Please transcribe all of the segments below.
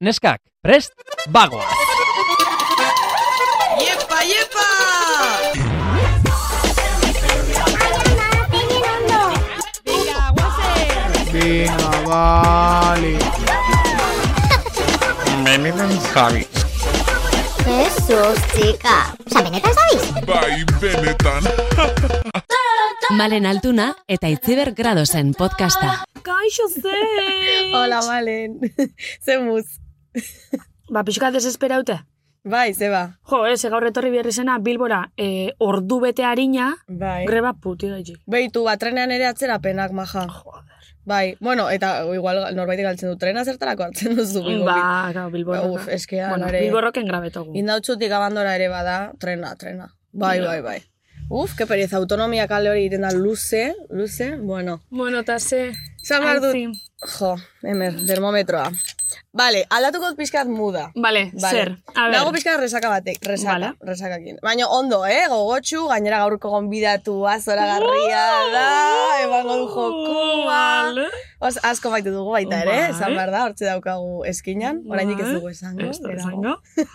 Neskak, prest, bagoaz! ¡Yepa, yepa! Venga, vale. Jesus, txika. Osa, benetan zabiz? Bai, benetan. Malen Altuna eta Itziber Gradosen podcasta. Kaixo ze! Hola, Malen. Ze muz. Ba, pixka desesperaute. Bai, zeba. Jo, ez, gaur etorri behar izena, Bilbora, e, ordu bete harina, Bai. greba puti gaitxik. Beitu, ba, trenean ere atzerapenak, maja. Bai, bueno, eta bueno, eta norbaitek norbait galtzen du trena zertarako hartzen duzu. Bilbobit? Ba, gau, Bilbora. Uf, eskea, bueno, nore. Bilborroken grabetogu. Indautxutik abandora ere bada, trena, trena. Bai, bai, bai. Uf, que pereza, autonomia kale hori egiten da luze, luze, bueno. Bueno, eta ze... Zan behar dut, Aitzi. jo, hemer, termometroa. Vale, aldatuko dut pixkat muda. Vale, Vale. zer, a ber. Dago pixka resaka batek, resaka, Vale. resakakin. Baina ondo, eh, gogotxu, gainera gaurko gonbidatua, zora garria da, emango du jokua. Vale. Os, asko baite dugu baita ere, eh, Vale. esan behar da, hortze daukagu eskinan, oraindik ez dugu esango. Ez dugu berago. esango.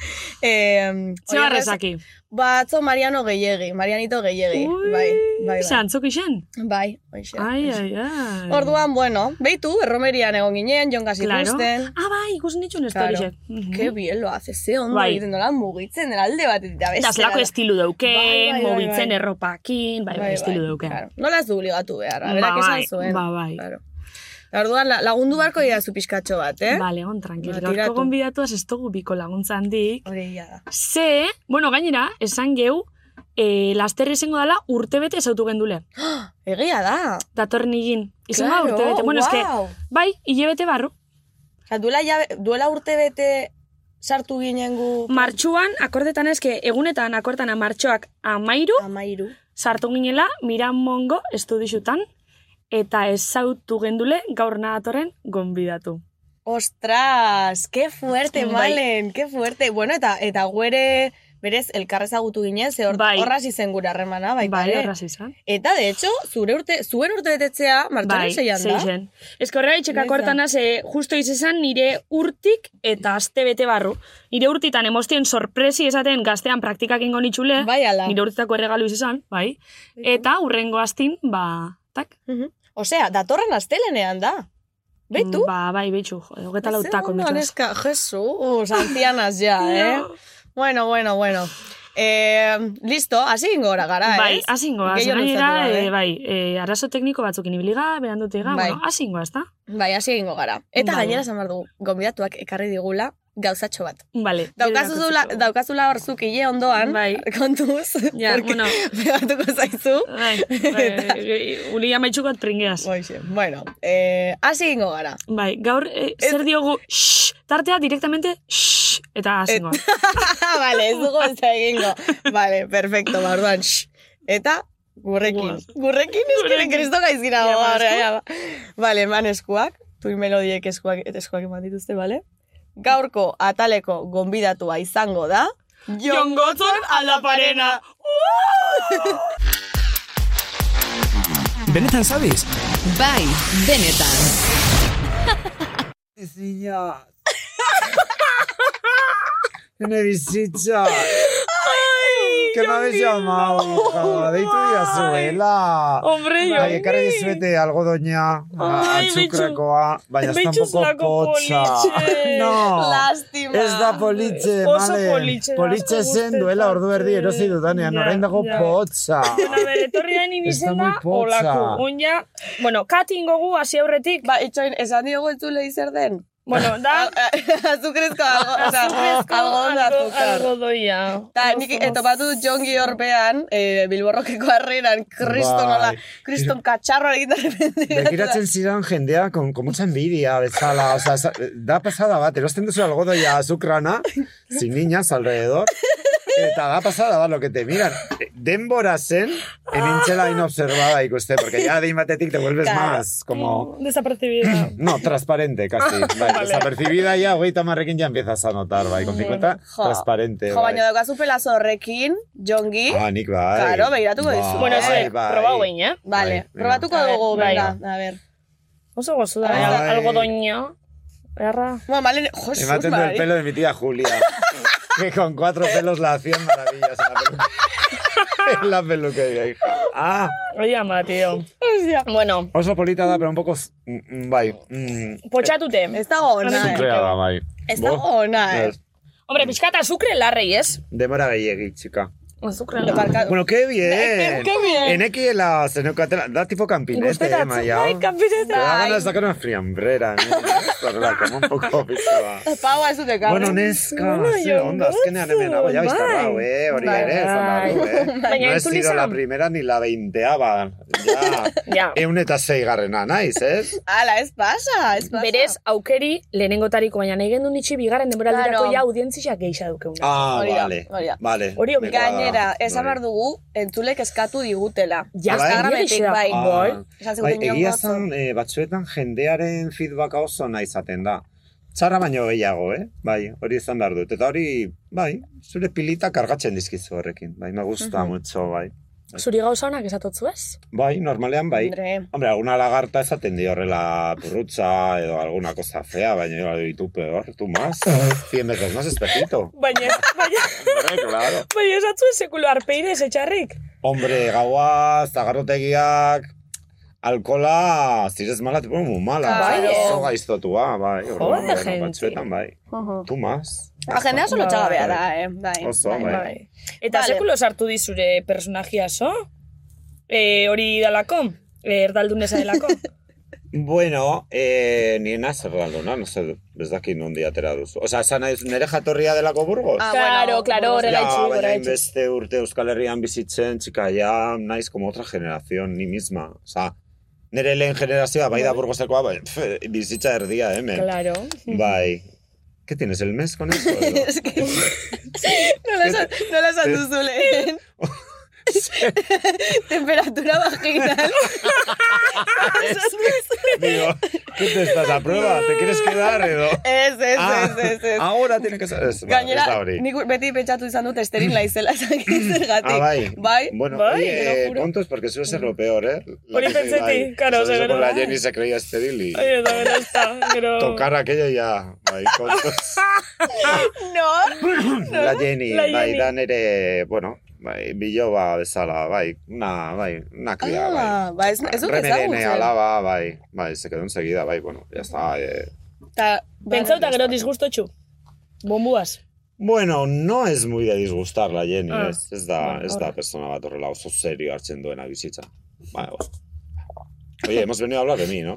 Eh, Ze hori barrezaki. Batzo Mariano gehiegi, Marianito gehiegi, Ui. bai, bai, Ze bai, antzuk isen? bai, hoxe. Ai, ai, ai. Orduan, bueno, beitu, erromerian egon ginen, jongas Claro. ikusten. Ah, bai, ikusen ditxun Claro. estoriak. Mhm. Ke bien lo hace, ze ondo Bai. egiten dola mugitzen dela alde batetik da Da, zelako estilu dauke, Bai, bai, bai, mugitzen bai. erropakin, bai, bai, estilu dauke. Claro. Nola ez du obligatu behar, Ba, berak esan bai, zuen. ba, bai. Claro. Eta Orduan la- lagundu barko dira zu pixkatxo bat, eh? Vale, on, tranquil. Ba, Gaurko tiratu. gonbidatuaz ez dugu biko laguntza handik. Hori egia da. Ze, bueno, gainera, esan geu, e, laster izango dela urte bete ezautu gendule. Egia da. Datorren higin. Izango da urte bete. bai, Bueno, eske, guau. bai, hilebete barru. Osea, duela, jabe, duela urte bete sartu ginen gu Martxuan, akordetan eske, egunetan akordetan martxoak amairu, amairu. sartu ginela Miramongo estudixutan, eta ezautu gendule gaur nadatorren gonbidatu. Ostras, que fuerte, Bai. Malen, que fuerte. Bueno, eta eta guere, berez, elkarrezagutu ginen, ze hor- Bai. horraz izen gure harremana, baita bai, ere. horraz izan. Eta, de hecho, zure urte, zuen urte betetzea, martxaren Bai, seian da. zeizen. Ez que horrela itxeka Noiz da? kortana ze eh, justo izan nire urtik eta aste bete barru. Nire urtitan emostien sorpresi esaten gaztean praktikak ingo nitxule, Bai, ala. eh? nire urtetako erregalu izan, bai. Eta hurrengo astin, ba, tak. Mhm. Osea, datorren astelenean da. Beitu? Ba, Ba, bai, betxu, jode, hogeta Ze lautako ondo, mitxaz. neska, Jesus, ancianas ja, eh? Bueno, bueno, bueno. Eh, listo, hasi gingo gora gara, Bai, ez? asingo, eh? Gehiago luzatu gainera, gabe. e, bai, e, arazo tekniko batzukin ibiliga, berandutega, Bai. bueno, asingo, ez da? Bai, hasi egingo gara. Eta Bai. gainera esan behar dugu, gonbidatuak ekarri digula gauzatxo bat. Vale. Daukazula, Biderakotzeko. daukazula hor zuk hile ondoan, Bai. kontuz, Ja, porque bueno. pegatuko zaizu. Bai, Eta- bai, uli amaitxukot pringeaz. Boixe, bueno, eh, hasi egingo gara. Bai, gaur eh, zer diogu shh, tartea direktamente shh, eta hasingo. Ah, vale, ez dugu ez da egingo. Vale, perfecto, ba, orduan, shh. Eta, gurrekin. Gurrekin eskinen Gurrekin. kristo gaizkina. Ja, ba, ba, esku. ja, ba. Vale, eman eskuak, tuin melodiek eskuak, eskuak eman dituzte, vale? Gaurko ataleko gonbidatua izango da, Jon Jongotzon aldaparena. Benetan zabiz? Bai, benetan. Ezina. Ene bizitza. Que me habéis llamado, hija. Deitu dira zuela. Hombre, jo. Bai, ekarri dizuete algodoña, a- Ai, bitxu. atzukrakoa, baina ez Bitxu tampoco zelako potxa. politxe. No. Lastima. Ez da politxe, Oso male. politxe da, Politxe asko zen duela gustatzen. ordu erdi erosi dudanean, Ja, orain dago ja. potxa. Bueno, ber, etorri da ni Está bizena muy potza. olako. Oina, bueno, katin gogu hasi aurretik. Ba, itxoin, esan diogu entzulei zer den? Bueno, da Azukrezko algo, oza, algodon da algo- azúcar. algodoia. Ta, nik etopatu dut jongi horpean, eh, bilborrokeko harreran, kriston Bai. hola, kriston katxarroa egiten Begiratzen zidan jendea, con, con mucha envidia, bezala, o sea, sa- da pasada bat, erosten duzu algodoia azukrana, sin niñas alrededor, eta da pasada bat, lo que te miran. Denbora zen, enintxela inobservada ikuste, porque ya de batetik te vuelves Ah. Claro. más, como... Desapercibida. No, transparente, casi. Bai, desapercibida ya, hogeita marrekin ya empiezas a notar, bai, con 50, Mm. Jo. transparente, Jo, baina bai. daukazu pelazo horrekin, jongi. Ah, nik bai. Claro, begiratuko dizu. Bueno, Bai, ze, probau egin, eh? Vale, Bai, venga. probatuko A ver, dugu, bai. venga, a ber. Oso gozu da, Ai. algodoño. Erra. Ba, malen, josuz, Ematen del Mari. pelo de mi tía Julia. que con cuatro pelos la hacían maravillas en la peluca. en la peluquería, hija. Ah, Hori ama, tío. Ostia. Bueno, oso polita da, pero un poco... z- mm, mm, bai. Mm. potxatute. Ez dago ona, Bai. Suklea da, bai. Ez Bo. dago ona, eh. Ez. Hombre, pixkata azukre larrei, ez? Demora gehiegi, chica. Azukre Barkatu. Bueno, qué bien. Qué bien. Enekiela zeneukatela, da tipo campinete, eh, maia. Bai, Te da ganas de kapiteta. sacar una friambrera, ¿no? Zorra, como un poco bizaba. Paua ez dut ekarri. Bueno, neska, Bueno, ze jo, onda, azkenean hemen nago, ja biztarrau, eh, hori Bai, ere, esan badu, eh. Baina No he entzuli sido zen- la primera ni la veinteava, ja. Ja. Eun eta zeigarrena, naiz, ez? Ala, ez pasa, ez pasa. Berez, aukeri lehenengotariko, baina nahi gendun itxi bigarren denboraldirako Claro. ja audientzia geisha dukeuna. Ah, Hori da, vale, hori da. vale. Hori me cuadra, Gainera, esan hori. behar dugu, entzulek eskatu digutela. Ja, Bai? Instagrametik, Egia bai. da. Ah. Esan Bai, ziguten Jon egia Gozo. zan, eh, batzuetan jendearen feedbacka oso nahi izaten da. Txarra baino gehiago, eh? Bai, hori izan behar dut. Eta hori, bai, zure pilita kargatzen dizkizu horrekin. Bai, me gusta mucho, bai. Zuri gauza honak esatotzu ez? Bai, normalean bai. Hombre, Hombre, alguna lagarta esaten dio horrela purrutza edo alguna cosa fea, baina yo y tú peor, tú más. 100 veces más espejito. Baina, baina, Hombre, claro. baina esatzu ez sekulo arpeire etxarrik. Hombre, gaua, zagarrotegiak, alkola, zirez mala, te ponen muy mala. Bai, eh. Oso gaiztotua, bai. orduan, bueno, gente. Batzuetan, bai. Tú más. Ah, jendea oso lotxagabea da, eh. Bai, Oso, bai. bai. Bai. Eta Vale. sekulo sartu dizure personajia, so? E, hori dalako? E, erdaldunesa delako? Bueno, eh, ni naz erralduna, no sé, ez dakit nondi atera duzu. Osa, esan nahi, duzu, nere jatorria delako burgos? Ah, Claro, bueno, claro, horrela Ya, itxi, baina horrela itxi. inbeste urte Euskal Herrian bizitzen, txika, ja, naiz como otra generación, ni misma. Osa, nire lehen generazioa, bai da burgosekoa, bai, pf, bizitza erdia, hemen. Claro. Bai. ¿Qué tienes, el mes con eso? edo? Es que- Nola esan- Nola esan duzu lehen. Temperatura vaginal. Digo, ¿qué te estás a prueba? ¿Te quieres quedar, Edo? Ez, ez, Ah, ez, ez, ez. Ahora tiene que ser... Ez, ba, ez da Gainera, hori. nik beti pentsatu izan dut esteril naizela esan Ah, zergatik. bai. Bai, Bueno, Bai, oye, te lo eh, juro. contos porque suele ser lo peor, ¿eh? La Hori que- pensé en ti, bai, claro, sobre de todo con la verdad. Jenny se creía estéril y Ai, eta bera ez da, gero... tocar aquello ya, bai, contos. nor? la Jenny, La bai, Jenny. da nere, bueno, bai, biloba bezala, bai, una, bai, una cría, Ah, bai. ba, ez, ez dut eh. Remerene ezagutzen. alaba, bai, bai, se quedó enseguida, bai, bueno, ya está, eh, Ta- Pentsau eta gero disgustotxu. Bombuaz. Bueno, no es muy de disgustar la Jenny, Ah, ez, ez da, bueno, ez da horre. persona bat horrela oso serio hartzen duena bizitza. Ba, ba. Oye, hemos venido a hablar de mí, ¿no?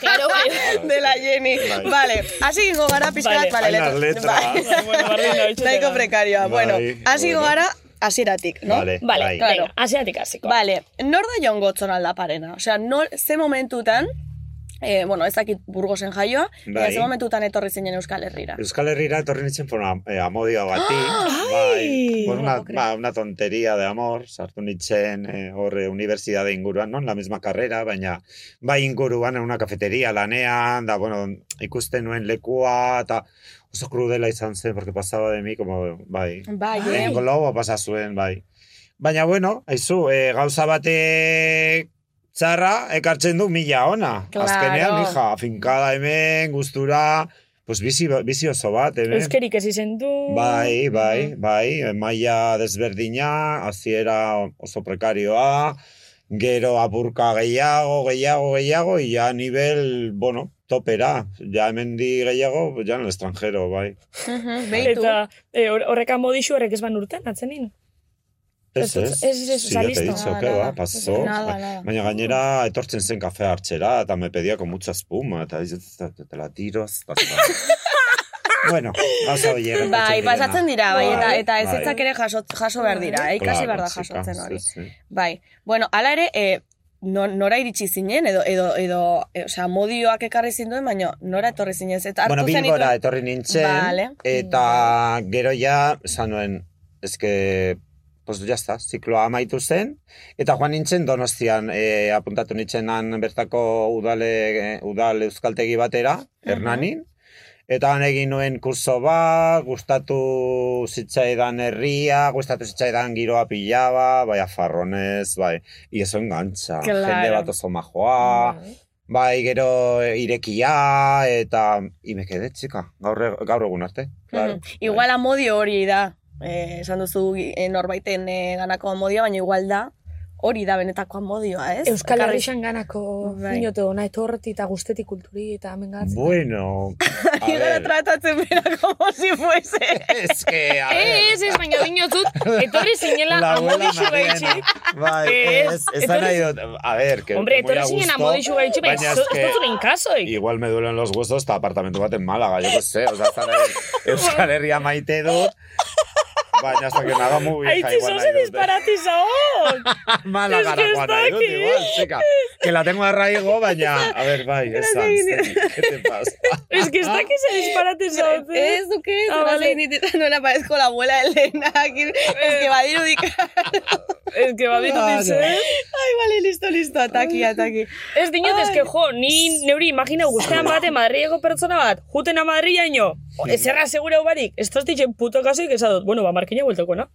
Claro, bai. De la Jenny. Bai. Vale, hasi gingo gara Vale. pixkat, vale, Hainbat letra. Bai. Bueno, Eh, bardin da, itxoten Nahiko da. prekarioa. Bueno, Bai, hasi gingo bueno. gara hasieratik, no? Vale, Vale, bai. venga, Claro. asiatik hasiko. Vale, nor da Jon Gotzon aldaparena? Osea, nor, ze momentutan, eh, bueno, ez dakit burgosen jaioa, Bai. eta ze momentutan etorri zinen Euskal Herrira. Euskal Herrira etorri nintzen por am- eh, amodio gati, bai, por una, ba, una tontería de amor, sartu nintzen eh, horre unibertsitate inguruan, non? La misma carrera, baina bai inguruan, en una cafetería lanean, da, bueno, ikusten nuen lekua, eta oso krudela izan zen, porque pasaba de mi, como, bai, Bai, eh? En globo pasa zuen, bai. Baina, bueno, aizu, eh, gauza batek txarra ekartzen du mila ona. Claro. Azkenean, hija, finkada hemen, gustura, pues bizi, bizi oso bat, hemen. Euskerik ez izen du. Bai, bai, bai, maila desberdina, hasiera oso prekarioa, gero apurka gehiago, gehiago, gehiago, y ja nivel, bueno, topera, ja hemendi gehiago, ja en el extranjero, bai. Mhm, Beitu. Eta eh, hor- horrek amodixu horrek ez ban urten, atzenin. Ez, ez, Ez, ez, ez, Si ya te he salista. dicho, Nada, que va, nada. pasó. Nada, nada. Baina gainera etortzen zen kafea hartzera, eta me pedia con mucha espuma, eta dice, "Te- te- te la tiro, hasta- hasta-" bueno, gauza hori gertatzen Bai, direna. pasatzen dira, bai, eta, Bai, eta bai. ezetzak ere jaso, jaso behar dira, eh? ikasi Claro, behar da chica, jasotzen hori. sí, sí. Bai, bueno, ala ere, e, no- nora iritsi zinen, edo, edo, edo, e, osea, modioak ekarri zinduen, baina nora etorri zinen, eta hartu Bueno, zenituen- bilbora etorri nintzen, Vale. eta gero ja, esan nuen, eske, pues ya está, zikloa amaitu zen, eta joan nintzen donostian, e, apuntatu nintzen han bertako udale, udal euskaltegi batera, Hernanin, Eta han egin nuen kurso bat, gustatu zitzaidan herria, gustatu zitzaidan giroa pilaba, bai afarronez, bai, y eso engancha, Claro. jende bat oso majoa, Bai, gero eh, irekia eta... Y me quedé, chica, gaur, e, gaur egun arte. Claro. Mhm. Igual amodio hori da. Eh, esan duzu eh, norbaiten eh, ganako amodia, baina igual da hori da benetako amodioa, ez? Euskal Bakarrik- Herrixan ganako Bai. finoto, nahi torreti eta guztetik kulturi eta hemen Bai. gatz. Bueno, a Igara ver, tratatzen bera como si fuese. es que, a ver... Ez, ez, baina dinotzut, etorri zinela La abuela amodixu Mariana. gaitxik. Bai, Ez, ez, ez da nahi dut, a ver, que Hombre, muy a etorri zinen gusto, amodixu gaitxe, baina baina ez es que- dut egin kasoik. Igual me duelen los huesos eta apartamentu bat en Málaga, yo que sé, o sea, zara Euskal Herria maite dut, baina hasta que me haga muy vieja Aitzi, igual zoze nahi dut. disparatiza hon! Málaga Es que narakoa nahi dut, está aquí. igual, chica. Que la tengo arraigo, baina, a ver, bai, esan, ¿qué te pasa? Ez que ez dakiz disparatiza hon. Ez duke, ez Ah, vale. duke, nola parezko la abuela Elena, aquí, ez que badiru Ez que baditu Claro. dizen. Ai, vale, listo, listo, ataki, ataki. Ez dinot, ez que jo, ni neuri imagina guztean bate Madrileko pertsona bat, jutena Madrilaino, ez erra segura barik, ez toz ditzen puto kasoik esadot, bueno, ba, markina bueltokoena.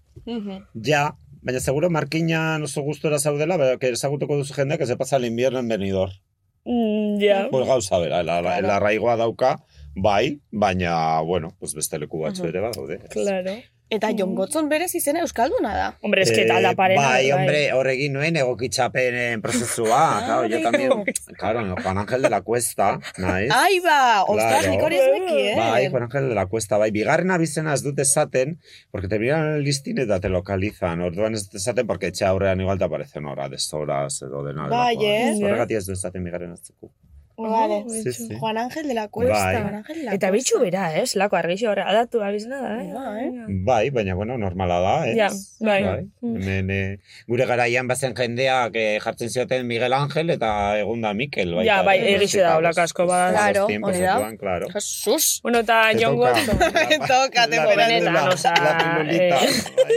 Ja, baina seguro markinan oso gustora zaudela, baina que ezagutuko duzu jendeak que se pasa el invierno en Benidorm. Mm, ja. Pues gauza bera, la, la, la arraigoa dauka, bai, baina, bueno, pues beste leku batzu ere badaude. Claro. Eta Jon Gotzon berez izena Euskalduna da. Hombre, ez que talda parena. Bai, hombre, horrekin nuen egokitxapenen prozesua. claro, yo también, claro, no, Juan Ángel de la Cuesta, naiz. Ai, ba, ostras, Claro. nik hori ez neki, eh? Bai, Juan Ángel de la Cuesta, bai, bigarren abizena ez dut esaten, porque te miran el listín eta te lokalizan, orduan ez dut esaten, porque etxe aurrean igual te aparecen hora, deshoras edo dena. Bai, delakoa. eh? Horregatik ez dut esaten bigarren azteko. Vale. Sí, sí. Juan Ángel de la Cuesta, Bai. Juan Ángel de la Eta bitxu bera, ez? Lako argixo horre, adatu abizna da, eh? Ba, eh? Bai, baina, bueno, normala da, ez? Ja, bai. Hemen, eh, gure garaian bazen jendeak eh, jartzen zioten Miguel Ángel eta egun da Mikel. Baita, Ja, bai, eh, egixe musika, da, los- olako asko los- bat. los Claro, tiempos hori da. orduan, claro. Jesus. Bueno, eta Te John toca. Watson. Te toca, te La pones. pirulita, Benetan, osa... la pirulita.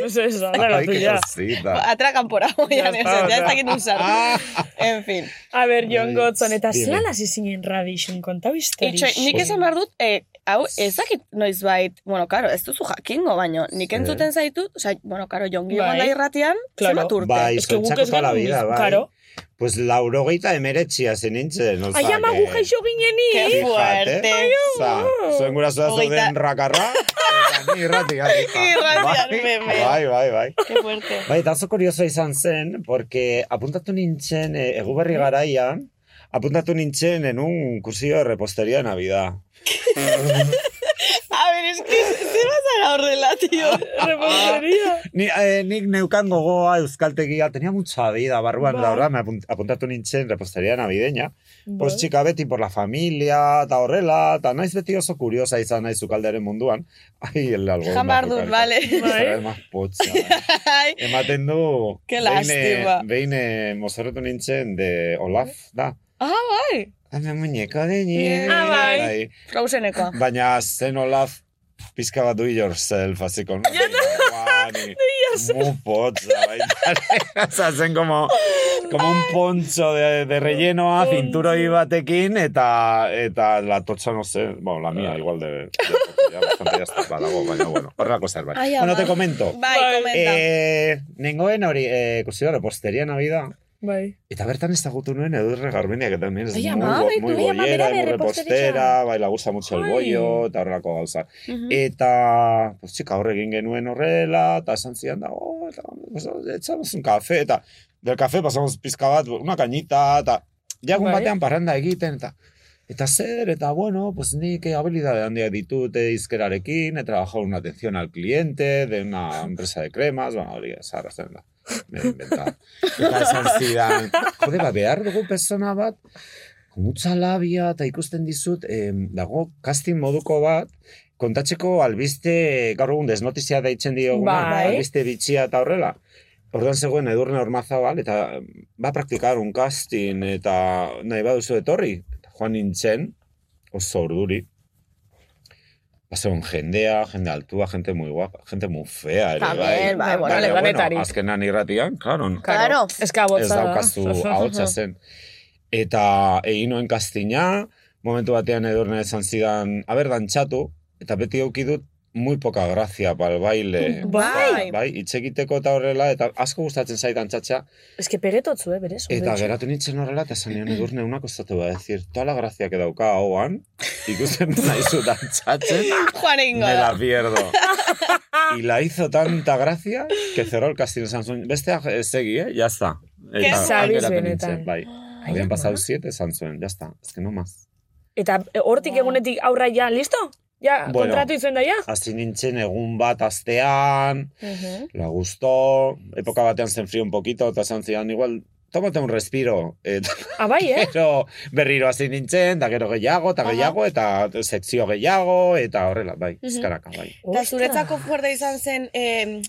No sé, eso, Ay, dela qué tu ya. cosita. Atrakan por Ya agoian, ez, está, ez ya. dakit usar. Ah. En fin. A ver, John Watson, eta Dime. zelan hasi zinen radixen kontau Itxo, historia. nik esan behar dut, eh, hau ez dakit noiz bait, bueno, karo, ez duzu jakingo, baino, nik Sí. entzuten zaitut, osea, bueno, karo, jongi Bai. bai. da irratian, Claro. zenbat urte. Bai, Es que guk izkuntzako ez toda la gara vida, bai. Claro. Pues laurogeita emeretxia zen nintzen. oza, Ai, ama gu que- jaixo ginen ni. Qué Fíjate. fuerte. Oza, zuen gurasoa Hogeita- zeuden rakarra, eta ni irratikan, hija. Irratian, Bai, meme. Bai, bai, bai. Qué fuerte. Bai, eta oso kurioso izan zen, porque apuntatu nintzen, e, eguberri garaian, apuntatu nintzen en un cursillo de repostería de Navidad. A ver, es que, zer bazara horrela, tío? Ah, Repostería. Ni, eh, nik neukan gogoa euskaltegia, tenía mucha vida barruan, Bai. la verdad, me apun- apuntatu nintzen repostería navideña. Bai. Pues txika beti por la familia, eta horrela, eta naiz beti oso kuriosa izan naiz zukalderen munduan. Ai, el algo. Jan behar dut, vale. Bai. potza. Ai, Ematen du... Ke behin, eh, lastima. Behin eh, mozorrotu nintzen de Olaf, da. ah, bai. Dame muñeco de nieve. Ah, bai. Bai. Frozenekoa. Baina zen Olaf pizka bat do it yourself, así con... Muy potza, baita. O sea, zen como, como un poncho de, de rellenoa, cinturoi batekin, eta, eta la tocha, no sé, bueno, la mía, igual de... de ya bastante ya está, badago, baina, bueno, horrelako zerbait. Ai, ama. Bueno, te comento. Bai, Bai. komenta. Eh, nengoen hori, eh, kursido repostería Navidad, Bai. Eta bertan ezagutu nuen Edurre Garbinia, que también es Ay, muy, ama, bo- ay, muy ay, ama, bollera, bera muy de repostera, reposteritza. bai, lagusta mucho el Ay. bollo, eta horrelako gauza. Mhm. Mm. Eta, pues txika, horre egin genuen horrela, eta esan zidan da, oh, eta, pues, echamos un café, eta del café pasamos pizka bat, una cañita, eta jagun Bai. batean parranda egiten, eta Eta zer, eta bueno, pues nik eh, habilidade handiak ditut eh, izkerarekin, he trabajado en una atención al cliente, de una empresa de cremas, bueno, hori zarra zen da, me he inventado. Eta esan zidan, jode, ba, behar dugu persona bat, con mucha labia, eta ikusten dizut, eh, dago casting moduko bat, kontatzeko albiste, gaur egun desnotizia deitzen dioguna, ba, Bai. albiste bitxia eta horrela. Orduan zegoen edurne ormazabal, eta ba praktikar un casting, eta nahi baduzu etorri. Eta joan nintzen, oso orduri. Basegon jendea, jende altua, gente muy guapa, gente muy fea. Ere, También, bai, bueno, Baina, leganetarik. azkenan irratian, claro, Claro. Ez que ez abotza daukazu eh? ahotsa zen. Eta egin noen kastina, momentu batean edorna esan zidan, aber, dantxatu, eta beti eduki dut muy poca gracia para el baile. Bai. Bai, itxekiteko eta horrela, eta asko gustatzen zait dantzatxa. Ez que peretotzu, eh, berez. Eta geratu nintzen horrela, eta zanion edur neunak ostatu ba, decir, toda la gracia que dauka hauan, ¿eh?" ikusten naizu dantzatzen, Juan egingo me la da. pierdo. Y la hizo tanta gracia que cerró el casting en Samsung. Besteak eh, segi, eh? Ya está. Eta sabes geratu benetan. nintzen, Bai. Habían pasado siete Samsung, ya está. Es que no más. Eta eh, hortik egunetik aurra ja, listo? Ja, Bueno. kontratu izuen da ja? Hasi nintzen egun bat astean, Ujú. la gustó, época batean se enfrió un poquito, eta esan zidan, igual, tómate un respiro. Eta Ah, bai, eh? gero berriro hasi nintzen, da gero gehiago, eta gehiago, eta sekzio gehiago, eta horrela, bai, eskaraka, bai. Eta zuretzako fuerte izan zen eh,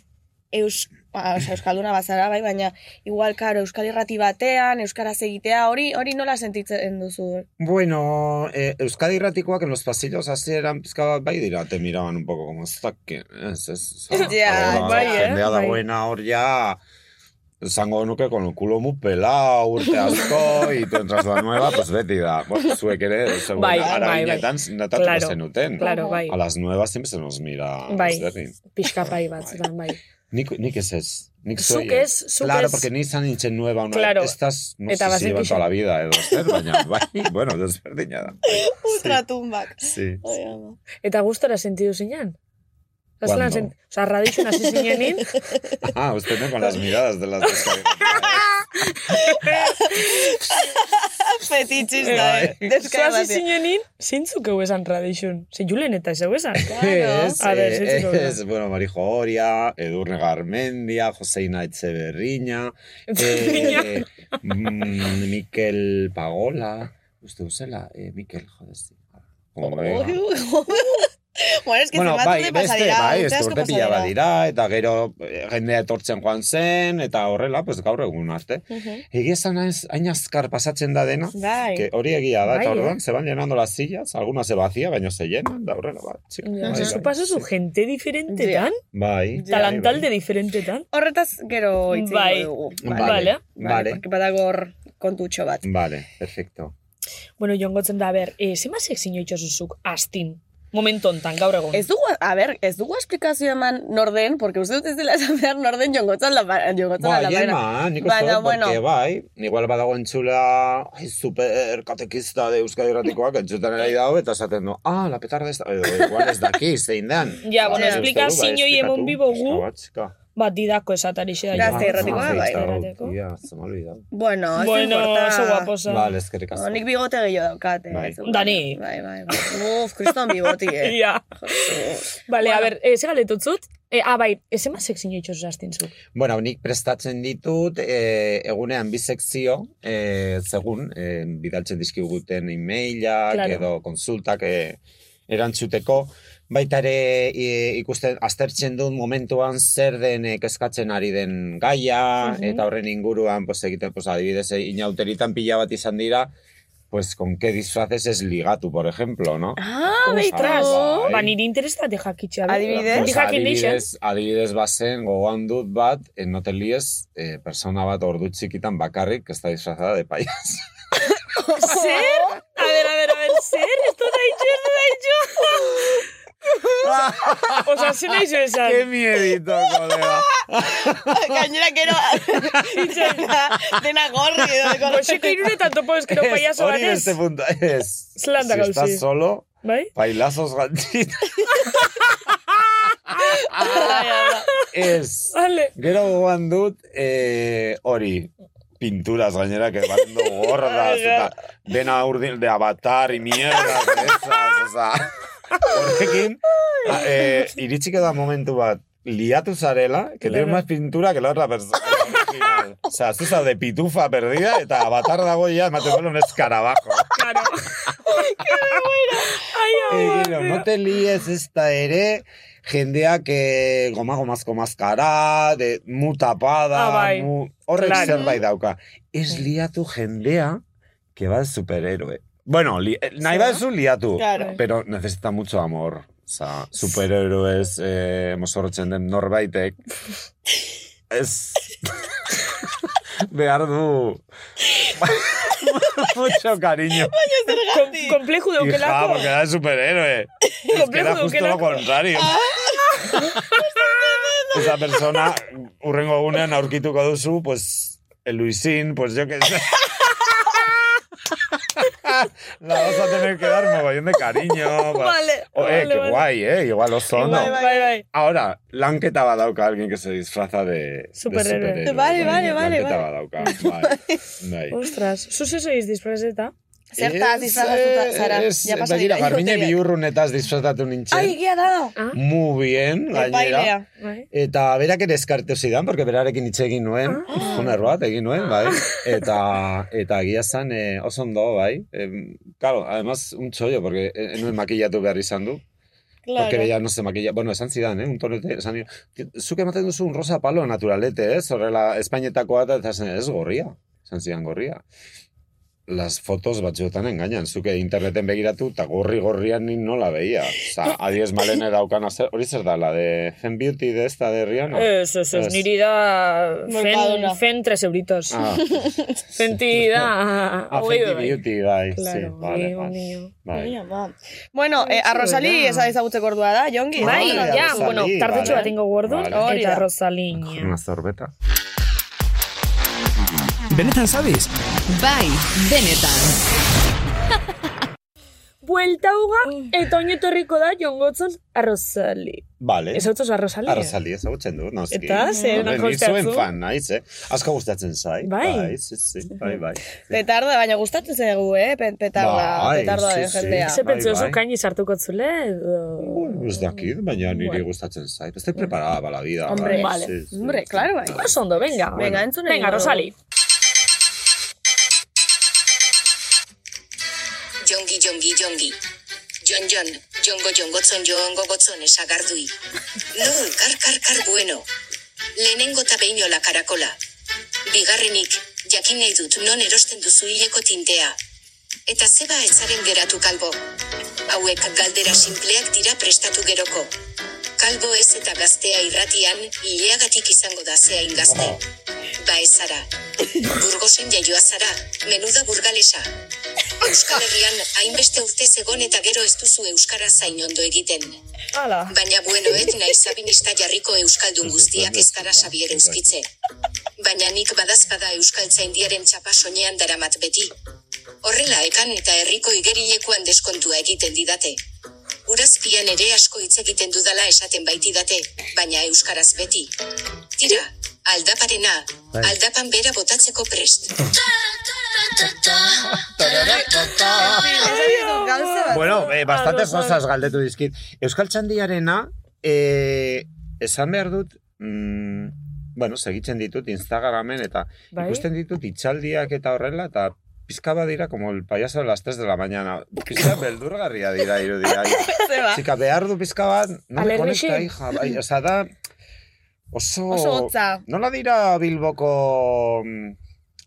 eus, ba, osea, Euskalduna bazara, bai, baina igual, karo, Euskal irrati batean, Euskaraz egitea, hori hori nola sentitzen duzu? Bueno, eh, Euskadi irratikoak en los pasillos hasi eran pizka bat bai dira, te miraban un poco como ez que ez, ez, ez, Ja, hor, bai, eh, jendea bai. dagoena hor ja, esango nuke con el culo mu pelao, urte asko, y tú entras la nueva, pues beti da, bueno, zuek ere, seguro, Bai, bai, bai, bai. arabinetan, natatuko Claro. zenuten. Claro, bai. A las nuevas siempre se nos mira Bai. ezberdin. Pixka pai bat, zutan, bai. Nik, nik ez ez. Nik Zuk soy- ez, zuk Claro, ez. porque ni izan nintzen nueva una Claro. Estas, no Eta sé si bazen iban pixa. toda la vida, edo, zer, baina, bai, bueno, desberdina da. Bai. Ultra tumbak. Sí. Ai, ama. Eta gustora sentidu zinean? Azlan, Cuando? sent... Osa, radixun hasi zinenin, Ah, usted no con las miradas de las descargas. Fetichis da, eh? zu Deskarga hasi batean. zinenin, zintzuk egu esan radixun. Ze julen eta ez egu esan. Es, A ver, sí, sí, eh, sí, es, bueno, Marijo Oria, Edurne Garmendia, Joseina Etxeberriña, eh, mm, Mikel Pagola, uste duzela, eh, Mikel, joder, sí. Hombre, bueno, es que bueno, zenbat bai, urte pasa beste, dira, bai, urte ez asko urte pasa pila dira. bat dira, eta gero eh, jendea etortzen joan zen, eta horrela, pues, gaur egun arte. Ujú. Egia esan ez, hain azkar pasatzen da dena, Bai. que hori egia da, Bai, eta eh. orduan, se van llenando las sillas, alguna se vacía, baina se llenan, da horrela, ba, bat, txik. Ja, Osa, zu pasazu gente diferentetan, Bai. talantalde diferentetan. Horretaz gero hitz egingo Bai. dugu. Vale. Vale. porque badago hor kontutxo bat. Vale, perfecto. Bueno, joan da, ber, eh, zema sekzio itxosuzuk astin? Momentu hontan, gaur egun. Ez dugu, a ber, ez dugu esplikazio eman norden, porque uste dut ez dela esan behar norden jongotzan la jongotzan Ba, la yema, nik uste Baina, dut, bueno, porque bai, igual badago entzula, ai, super katekista de Euskadi Erratikoak, entzuten ere dago, eta esaten du, ah, la petarda ez da, edo, igual ez daki, zein den. Ja, bueno, Ba, ez explica dugu, ba, zinoi esplikatu. emon bibo gu. Pixka bat, txika. Bat didako esatarixe da. Gazte Ah, erratikoa, sí, bai. está, Erratiko. tia, se me ha olvidado. bueno, ez Bueno, importa. oso guaposa. Vale, eskerrik asko. No, nik bigote gehiago daukat. eh, Bai. ez dugu- Dani. Bai, bai, bai. Uf, kriston bigoti, eh. Ja. Vale, a ber, eh, ze galdetutzut? Eh, ah, bai, ez ema sekzio itxosuz astin zu. Bueno, nik prestatzen ditut eh, egunean bisekzio, eh, segun, eh, bidaltzen dizkiguten e-mailak Claro. edo konsultak eh, erantzuteko, baita ere eh, ikusten aztertzen dut momentuan zer den eh, kezkatzen ari den gaia eta horren inguruan pues egiten pues adibidez eh, inauteritan pila bat izan dira pues con qué disfraces es ligatu, por ejemplo, ¿no? Ah, Ostras, bai. ba, niri interesate jakitxea. bai. Adibidez? Pues, Jakin nixen. adibidez, adibidez bazen, gogoan dut bat, eh, no te líes, eh, persona bat ordu txikitan bakarrik, que está disfrazada de payas. Zer? A ber, a ber, a ber, zer? Esto da itxo, esto da itxo. Osa, zer nahi zu esan? miedito, colega! Gainera, gero, dena, dena gorri edo. Goxeko irure eta topo eskero payaso bat hori ez. beste punta, ez. Zelanda si gauzi. estás solo, Bai? bailazos gantitos. ez. Vale. Gero gogoan dut, eh, hori, pinturas gainera, que van do gordas, eta dena urdin, de avatar, y mierdas, de esas, oza. Horrekin, a- eh, iritsiko da momentu bat, liatu zarela, que tiene más pintura que la otra persona. original. O sea, zu de pitufa perdida, eta avatar dago ya, ematen duela un escarabajo. Claro. Eh, gero, no te líes ezta ere, jendeak eh, goma gomazko maskara, de, mu tapada, Ah, bai. mu... horrek Claro. zerbait dauka. Ez liatu jendea, que va de superhéroe. Bueno, li, eh, nahi baduzu liatu, Claro. pero necesita mucho amor. Osa, superhéroes eh, mozorrotzen den norbaitek. Ez... behar du... mucho cariño. Kom- Kompleju Hija, deukelako. porque era de superhéroe. Es que Complejo era de justo lo Ukelako. contrario. Esa persona, urrengo gunean aurkituko duzu, pues, el Luisín, pues yo que sé. La vas a tener que dar mogollón de cariño. ba- Vale, Oh, eh, vale, qué vale. guay, eh. Igual oso, ¿no? Bai, bai, bai. Ahora, lanketa badauka alguien que se disfraza de de Superhéroe. superhéroe. Vale, vale, vale, Lanketa vale. badauka. Bai. Bai. Ostras, zuz ez oiz disfrazeta? Zertaz eh, disfrazatuta zara. Ez, Ja pasa begira, dira, Garbiñe inauteriak. bihurrunetaz disfrazatu nintzen. Ai, egia da. Muy bien, gainera. Epailea. Bai. Eta berak ere eskartu zidan, porque berarekin hitz egin nuen, Ah. un erroat egin nuen, bai. Eta, eta egia zan eh, oso ondo, bai. Em, claro, además, un chollo, porque eh, nuen makillatu behar izan du. Porque Claro. bella no se maquilla. Bueno, esan zidan, eh? Un tonete, esan nio. "Ke- Zuk ematen duzu un rosa palo naturalete, ¿eh? ez? Horrela, Espainetakoa eta eta zen, ez gorria. Esan zidan gorria. Las fotos batzuetan engainan. Zuke interneten begiratu, eta gorri gorrian ni nola veia. Osa, adiez malene daukana zer. Hori zer da, la de Zen Beauty de esta de Rihanna? Ez, ez, ez, Ez. niri da fen, Mercadona. fen tres euritos. Ah, Fenti da... ah hogei Fenty bai. Beauty, bai. sí, Claro, vale, bai, vale. ondino. Bai. Ia, ba. Bueno, eh, a Rosali ez ezagutzeko ordua da, Jongi. Bai, Ah, ja, Rosalía, bueno, tartetxo vale. bat ingo gordun, Vale. Hori eta da. Rosalina. zorbeta. Benetan zabiz? Bai, benetan. Buelta uga, eta oinetorriko da jongotzon arrozali. Vale. Ez autoz arrozali. Arrazaldi ezagutzen du, noski. Eta, zer, Hombre, nahiko ni zuen gustatzen. fan, naiz, eh? Asko gustatzen zai. Bai. Bai, sí, sí, bai, bai. Petarda, baina gustatzen zaigu, eh? pe- Petarda, Bai, petarda sí, den sí. jendea. Ze Bai, pentsu bai. zu kaini sartuko zule, edo... Bueno, Ez dakit, baina niri Bueno. gustatzen zait. Estoy preparada para la vida. Hombre, bai, vale. sí, sí, Hombre, sí. claro, bai. Oso ondo, venga. Venga, entzun Venga, egingo dugu. Rosali. Jongi, jongi, jongi. Jon, jon, jongo, jongotzon, jongo, gotzon esagardui. Non, kar, kar, kar, bueno. Lehenengo eta beinola karakola. Bigarrenik, jakin nahi dut non erosten duzu hileko tintea. Eta zeba etzaren geratu kalbo. Hauek galdera simpleak dira prestatu geroko. Kalbo ez eta gaztea irratian, hileagatik izango da zeain gazte. Ba ez zara. Burgosen jaioa zara, menuda burgalesa. Euskal Herrian hainbeste urte zegon eta gero ez duzu euskara zain ondo egiten. Hala. Baina bueno et naiz abinista jarriko euskaldun guztiak ez gara sabier euskitze. Baina nik badazpada euskal zaindiaren txapa soinean daramat beti. Horrela ekan eta herriko igerilekuan deskontua egiten didate. Urazpian ere asko hitz egiten dudala esaten baitidate, baina euskaraz beti. Tira, aldaparena, aldapan bera botatzeko prest. Esan dizu gauza bat. Bueno, eh, bastantes Arrozal. cosas galdetu dizkit. Euskal Txandiarena, eh, esan behar dut, mm, bueno, segitzen ditut Instagramen, eta Bai. ikusten ditut itxaldiak eta horrela, eta pizka bat dira como el payaso de las 3 de la mañana. Pizka beldurgarria dira irudia. Zeba. Txika, behar du pizka bat, no me Alergixi? conecta, hija. Bai, oza, da, oso... Oso hotza. Nola dira Bilboko mm,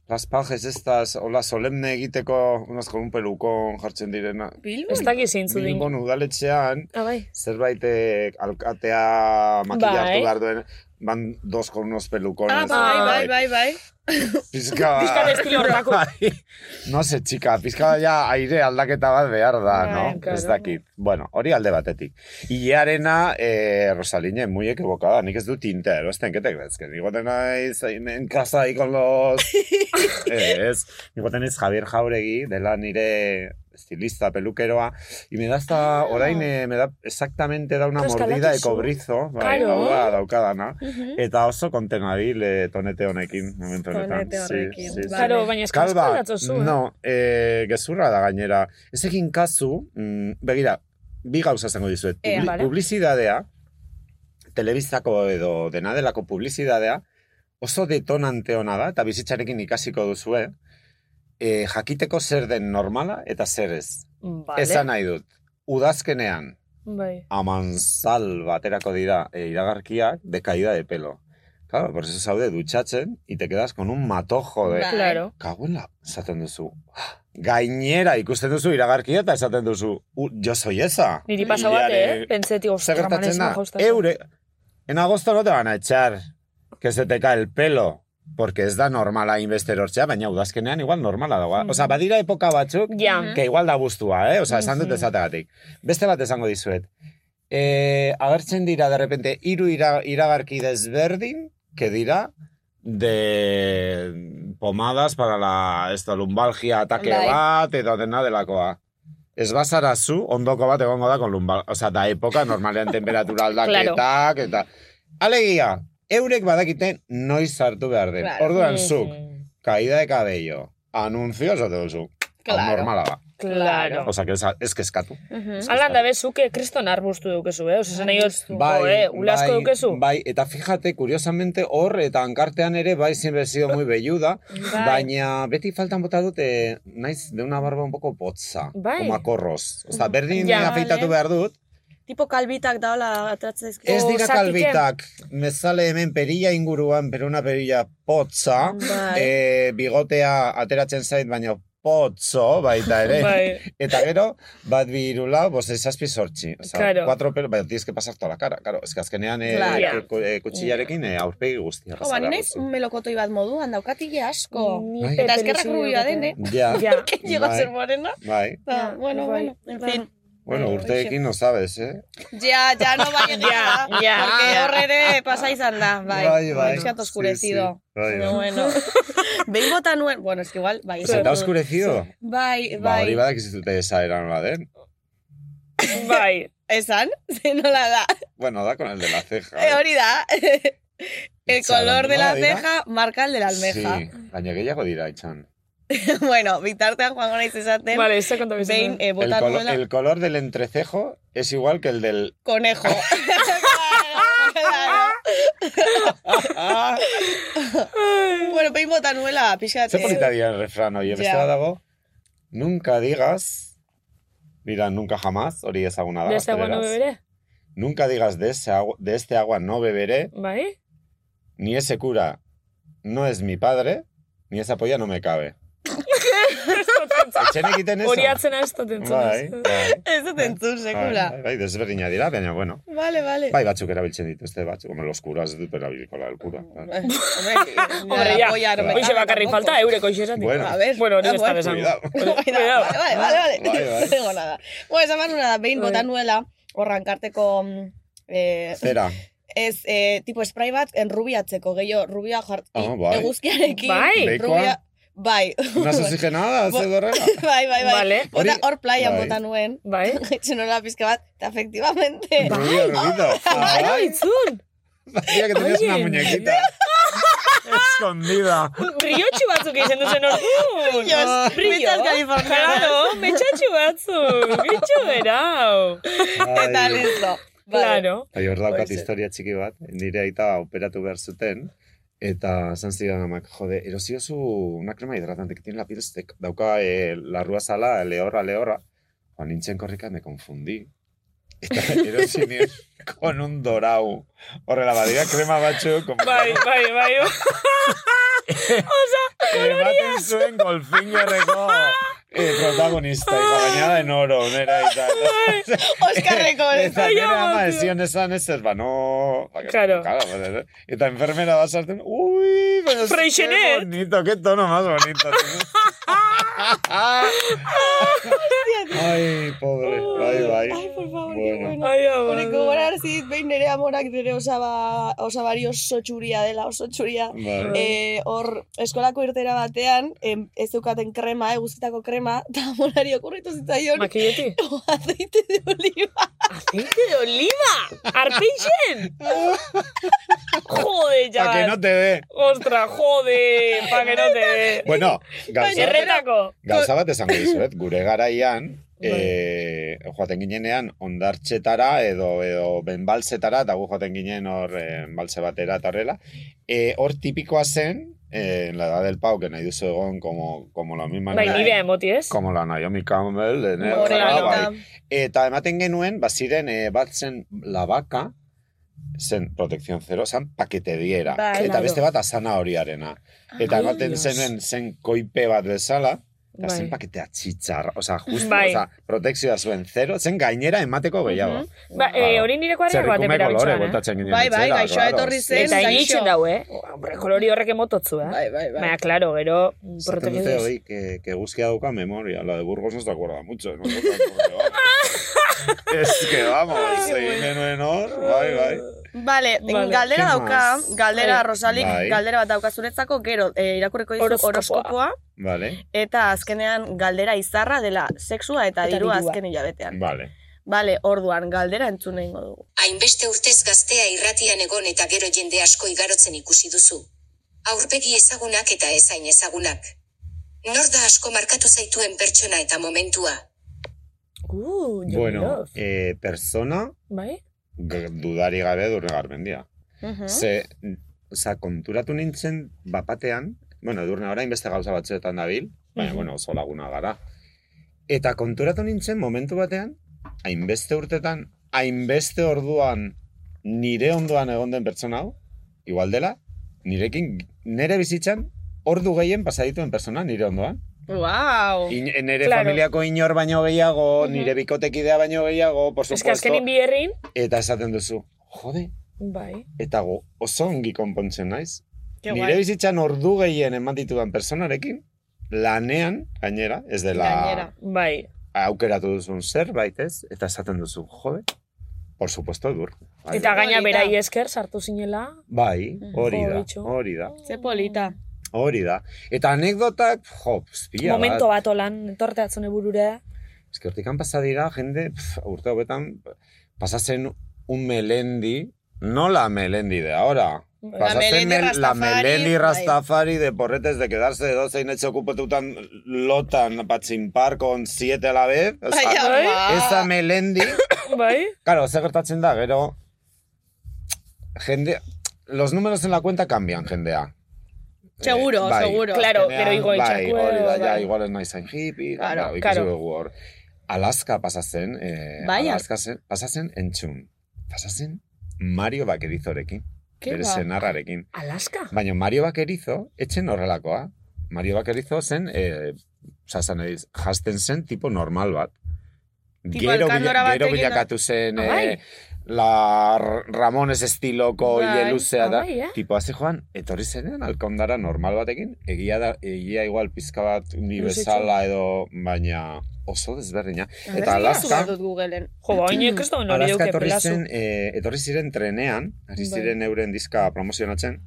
las pajes estas, hola solemne egiteko, unas con un pelucón jartzen direna. Ez Bilbon? dakiz zeintzu din. Bilbon udaletxean Ah, bai. zerbait eh, alkatea makilla Bai. hartu behar duen van dos con unos pelucones. Ah, bai, bai, bai, bai. Pizka bat. Pizka de estilo hortako. Bai. no se, txika, pizka bat ja aire aldaketa bat behar da, Bai, no? claro. Ez dakit. Bueno, hori alde batetik. Ilearena, eh, Rosaline, muy equivocada. Nik ez du tinta erosten, ¿qué te crees? Que nik goten naiz hain en casa ahí con los... Eh, ez, nik goten naiz Javier Jauregui, dela nire estilista, peluqueroa, y me da Ah. hasta, orain, eh, me da exactamente da una Claro, mordida de eskalatu zu. cobrizo, bai, Claro. hau da, daukadana, Mhm. eta oso kontenabil eh, tonete honekin, momentu honetan. Tonete Sí, horrekin, sí, sí. bai. Karo, baina Kalba, eskalatzo zu, eh? no, eh, gezurra da gainera. Ez egin kasu, mm, begira, bi gauza esango dizuet. Ea, Publi- bale. Publizidadea, telebistako edo dena delako publizidadea, oso detonante ona da, eta bizitzarekin ikasiko duzue, eh, jakiteko zer den normala eta zer ez. Vale. Esan nahi dut, udazkenean, Bai. amanzal baterako dira eh, iragarkiak de caída de pelo. Claro, por eso zaude dutxatzen, y te quedas con un matojo de... Bai. Claro. Kaguela, esaten duzu. Gainera ikusten duzu iragarkia eta esaten duzu. U, yo soy esa. Niri pasa bat, eh? Ileare- Pentseti, Zer ostra, gertatzen manez da? maja ustazu. Eure, en agosto no te van a echar. Que se te cae el pelo. Porque ez da normala inbesterortzea, baina udazkenean igual normala dagoa. Osa, badira epoka batzuk, Ja. Mhm. Bai, que igual da guztua, eh? Osa, esan dut ezategatik. Beste bat esango dizuet. e, agertzen dira, de repente, hiru ira, iragarki desberdin, que dira, de pomadas para la esto, lumbalgia atake Bai. bat, eta dena delakoa. Ez bazara zu, ondoko bat egongo da, con lumbal, o sea, da epoka, normalean temperatura aldaketak, eta... Alegia, eurek badakite noiz hartu behar den. Claro. Mm. Orduan, zuk, caída de cabello, anuncio, esate duzu. Claro. Normala da. Claro. Osa, que esa- ez kezkatu. Alan da bezuke kriston arbustu dukezu, eh? Osa, zen nahi dut, jo, eh, ulasko bai, dukezu. Bai, eta fíjate, curiosamente, hor eta hankartean ere, bai, siempre he sido muy belluda, Bai. baina beti faltan bota dute, naiz, de una barba un poco potza, Bai. como akorroz. Osa, berdin Ja, eh? afeitatu behar dut, Tipo kalbitak daola atratzen dizkizu. ez O dira zatiken. kalbitak, me sale hemen perilla inguruan, pero una perilla Mm. potza, Bai. eh, bigotea ateratzen zait, baina potzo, baita ere. Bai. Eta gero, bat bi hiru lau, bost zazpi sortzi. Osa, Claro. Cuatro pelo, baina tienes que pasar toda la cara, claro. Ez que azkenean eh, Claro. ku- eh, kutsillarekin eh, aurpegi guztia. Jo, ba, ni naiz melokotoi bat moduan daukatile asko. Bai. Eta eskerrak rubioa den, eh? Ja, Ja. Que llega a ser Bai. morena. bai. Ba, bueno, bai. bueno, en fin. Bai. Bueno, urteekin no sabes, eh? Ja, ja, no bai egia da. ja, Porque ja. hor ere pasa izan da, bai. Pixkat oskurecido. Sí, sí. Bai, No, bai. bueno. Behin bota nuen, bueno, es que igual, bai. Se te ha oscurecido? Bai, Ba, hori bai. badakizitute esaera nola ba, den. Bai. Esan, ze nola da. Bueno, da con el de la ceja. Eh, hori da. El Itxaron, color de la nola dira? ceja marca el de la almeja. Sí, baina gehiago dira, itxan. bueno, bitartean joango naiz esaten. Vale, pues ez da konta Behin bizitzen. eh, El, bota colo- nuela el color del entrecejo es igual que el del... conejo. Claro, claro. Ah, bueno, behin bota nuela, pixkat. Ze eh, polita dira el refran, oie, bestela Ja. dago, nunca digas, dira, nunca jamás, hori ezaguna da, Beste guano gazteleraz. bebere? Nunca digas de, ese agua- de este agua no beberé, Bai? ni ese cura no es mi padre, ni esa polla no me cabe. Etxen egiten eso? Hori atzena ez dut Bai, entzun. bai. Ez dut entzun, sekula. Bai, bai, desberdina dira, baina bueno. Vale, vale. Bai, batzuk erabiltzen dituzte, batzuk. Hombre, los curas ez dut erabiliko la del cura. Eh, Hombre, Hombre, la ja. polla no me Hoxe cabe bakarri tampoco. falta, eureko hoxe esatik. Bueno. A ver. Bueno, hori Ah, besta bueno. besan. Cuidado. Cuidado, Cuidado. Vale, vale, vale. Bai, bai. No tengo nada. Bueno, esan behar nuena da, behin Bai. bota nuela, horrankarteko... mm, Eh, Zera, ez, eh, tipo spray bat enrubiatzeko, gehiago, rubia jart, Ah, bai. eguzkiarekin. Bai. rubia, bai. unas oxigenadas, Bo- ez horrela? bai, bai, bai. Vale. Bota, Hori- hor playa Bai. bota nuen. Bai? Etxen hola pizka bat, eta efectivamente. Rubio, rubito. Ah, Bai, bai. itzun! Parecía que tenías una Oye. muñequita escondida. Briotxu batzuk izen duzen orduan. Ah. Brillos, metas californianas. Claro, metxatxu batzuk. Bitxu berau. Eta listo. Vale. Claro. Bai, hor daukat Puede ser. historia txiki bat, nire aita operatu behar zuten, eta esan zidan amak, jode, erosiozu una crema hidratante que tiene la piel seca. Dauka eh, la rua sala, lehorra, lehorra. Joan nintzen korrika, me confundí. Eta erosi nien con un dorau. Horrela, badira krema batzu, con Bai, bai, bai. Eh, ematen zuen golfinerreko eh, protagonista, y bañada en oro, nera eta. eta- Oskarreko Eta hori. Ai, nire ama amatu. ezion esan ezer, ba, no... ba, Claro. ba, Eta eh. enfermera bat sartzen, ui, baina ez- Freixenet. Qué bonito, qué tono más bonito. tío. Ai, pobre, bai, bai. Ai, por favor, qué Bueno. bueno. Ai, Honek ama. gogorara zit, behin nire amorak nire osaba, osabari oso txuria dela, oso txuria. Bai. Eh, Hor, eskolako irtera batean, em, ez dukaten krema, eguzitako krema, eta amorari okurritu zitzaion, Makilleti. aceite de oliva. Aceite de oliva. Arpeixen. Jode, Pa que ja. no te dé. Ostra, jode. Pa que no te de. Bueno, gauza, Erretako. gauza bat esango dizuet, gure garaian, Bai. eh, joaten ginenean ondartxetara edo edo benbaltzetara eta gu joaten ginen hor eh, benbaltze batera eta horrela eh, hor tipikoa zen eh, en la edad del pau que nahi duzu egon como, como la misma Bai, Naomi- nibia emoti, ez? como la Naomi Campbell de Nero, Morena. bai. Eta ematen genuen, baziren eh, bat zen la vaca, zen protekzion zero, zen paketediera. Bai, eta claro. beste bat asana horiarena. Eta Ai, ematen Dios. zenuen zen koipe bat bezala, eta Bai. zen paketea txitsarra, oza, justu, Bai. oza, protekzioa zuen zero, zen gainera emateko gehiago. Ba, eh, hori nire kuadrera bat Zerrikume kolore eperabiltzan, eh? botatzen ginen. Bai, bai, etxera, gaixoa claro. etorri zen. Eta gaixo. initzen dau, eh? Oh, Hombre, kolori horrek emototzu, eh? Bai, bai, bai. Baina, claro, gero Zaten dute protegidos. hori, que, que guzkia dauka memoria, la de Burgos no se acuerda mucho. ¿no? Porque, vamos. Eske, vamos, egin genuen hor, bai, bai. Vale, Vale. galdera ¿Qué dauka, más? galdera Bai. Rosalik, Bai. galdera bat dauka zuretzako, gero eh, irakurriko dizu Horoskopoa. horoskopoa, Vale, eta azkenean galdera izarra dela sexua eta, Eta dirua dirua. azken hilabetean. vale. Vale, orduan, galdera entzun egingo dugu. Hainbeste urtez gaztea irratian egon eta gero jende asko igarotzen ikusi duzu. Aurpegi ezagunak eta ezain ezagunak. Nor da asko markatu zaituen pertsona eta momentua. Uh, Jon Bueno, Mirov. eh, persona Bai? g- dudari gabe durre garmendia. Hm? Mhm. Ze, oza, konturatu nintzen bapatean, bueno, edurne orain beste gauza batzuetan dabil, baina, Mhm. bueno, oso laguna gara. Eta konturatu nintzen momentu batean, hainbeste urtetan, hainbeste orduan nire ondoan egon den pertsona hau, igual dela, nirekin, nire bizitzan, ordu gehien pasadituen pertsona nire ondoan. Wow! In, nire Claro. familiako inor baino gehiago, Mhm. nire bikotekidea baino gehiago, por Ez que supuesto, azkenin bi herrin, eta esaten duzu, jode, Bai. eta go, oso ongi konpontzen naiz. Qué Nire guay. bizitzan ordu gehien eman ditudan personarekin, lanean, gainera, ez dela Gainera. bai. aukeratu duzun zerbait ez, eta esaten duzu, jode, por supuesto dur. Bai, Eta Mm. gaina Polita. berai esker sartu zinela. Bai, hori da, Joditxo. hori da, Ze polita. hori da. Eta anekdotak, jo, pia Momento ba- bat olan, torteatzen eburura. Ez que hortikan pasa dira, jende, pf, urte hauetan, pasazen un melendi, no la melendi de ahora. Pasazen melendi mel- la Rastafari, melendi bai. rastafari de porretes de quedarse de 12 en hecho ocupetutan lotan para chimpar con 7 a la vez. O sea, Baina, bai. ba. esa melendi, Bai? claro, ze gertatzen da, gero, jende, los números en la cuenta cambian, jendea. Seguro, bai, seguro. Claro, azkenean, gero igo Bai, itxakue, hori da, ja, bai. igual ez nahi zain hippie, Claro, claro, ikusi claro. dugu hor. Alaska pasazen, eh, Vaya. Alaska zen, pasazen entxun. Pasazen Mario Bakerizorekin, Ke bere ba. senarrarekin. Alaska? Baina Mario Bakerizo, etxen horrelakoa. Mario Bakerizo zen, eh, sasan ediz, jasten zen tipo normal bat. Tipo Gero, alkandora bila, gero batekin, bilakatu zen, Ah, eh, bai. la R- Ramones estiloko Bai, hile luzea ah, da. bai, eh? Tipo, hazi joan, etorri zenean alkandara normal batekin, egia da, egia igual pizka bat ni Luzetxo. bezala edo, baina oso desberdina. Eta Alaska. Alaska, dut Googleen. Jo, ba, baina kristoen hori Alaska duke etorri pelazu. zen, eh, etorri ziren trenean, ari Bai. ziren euren diska promozionatzen,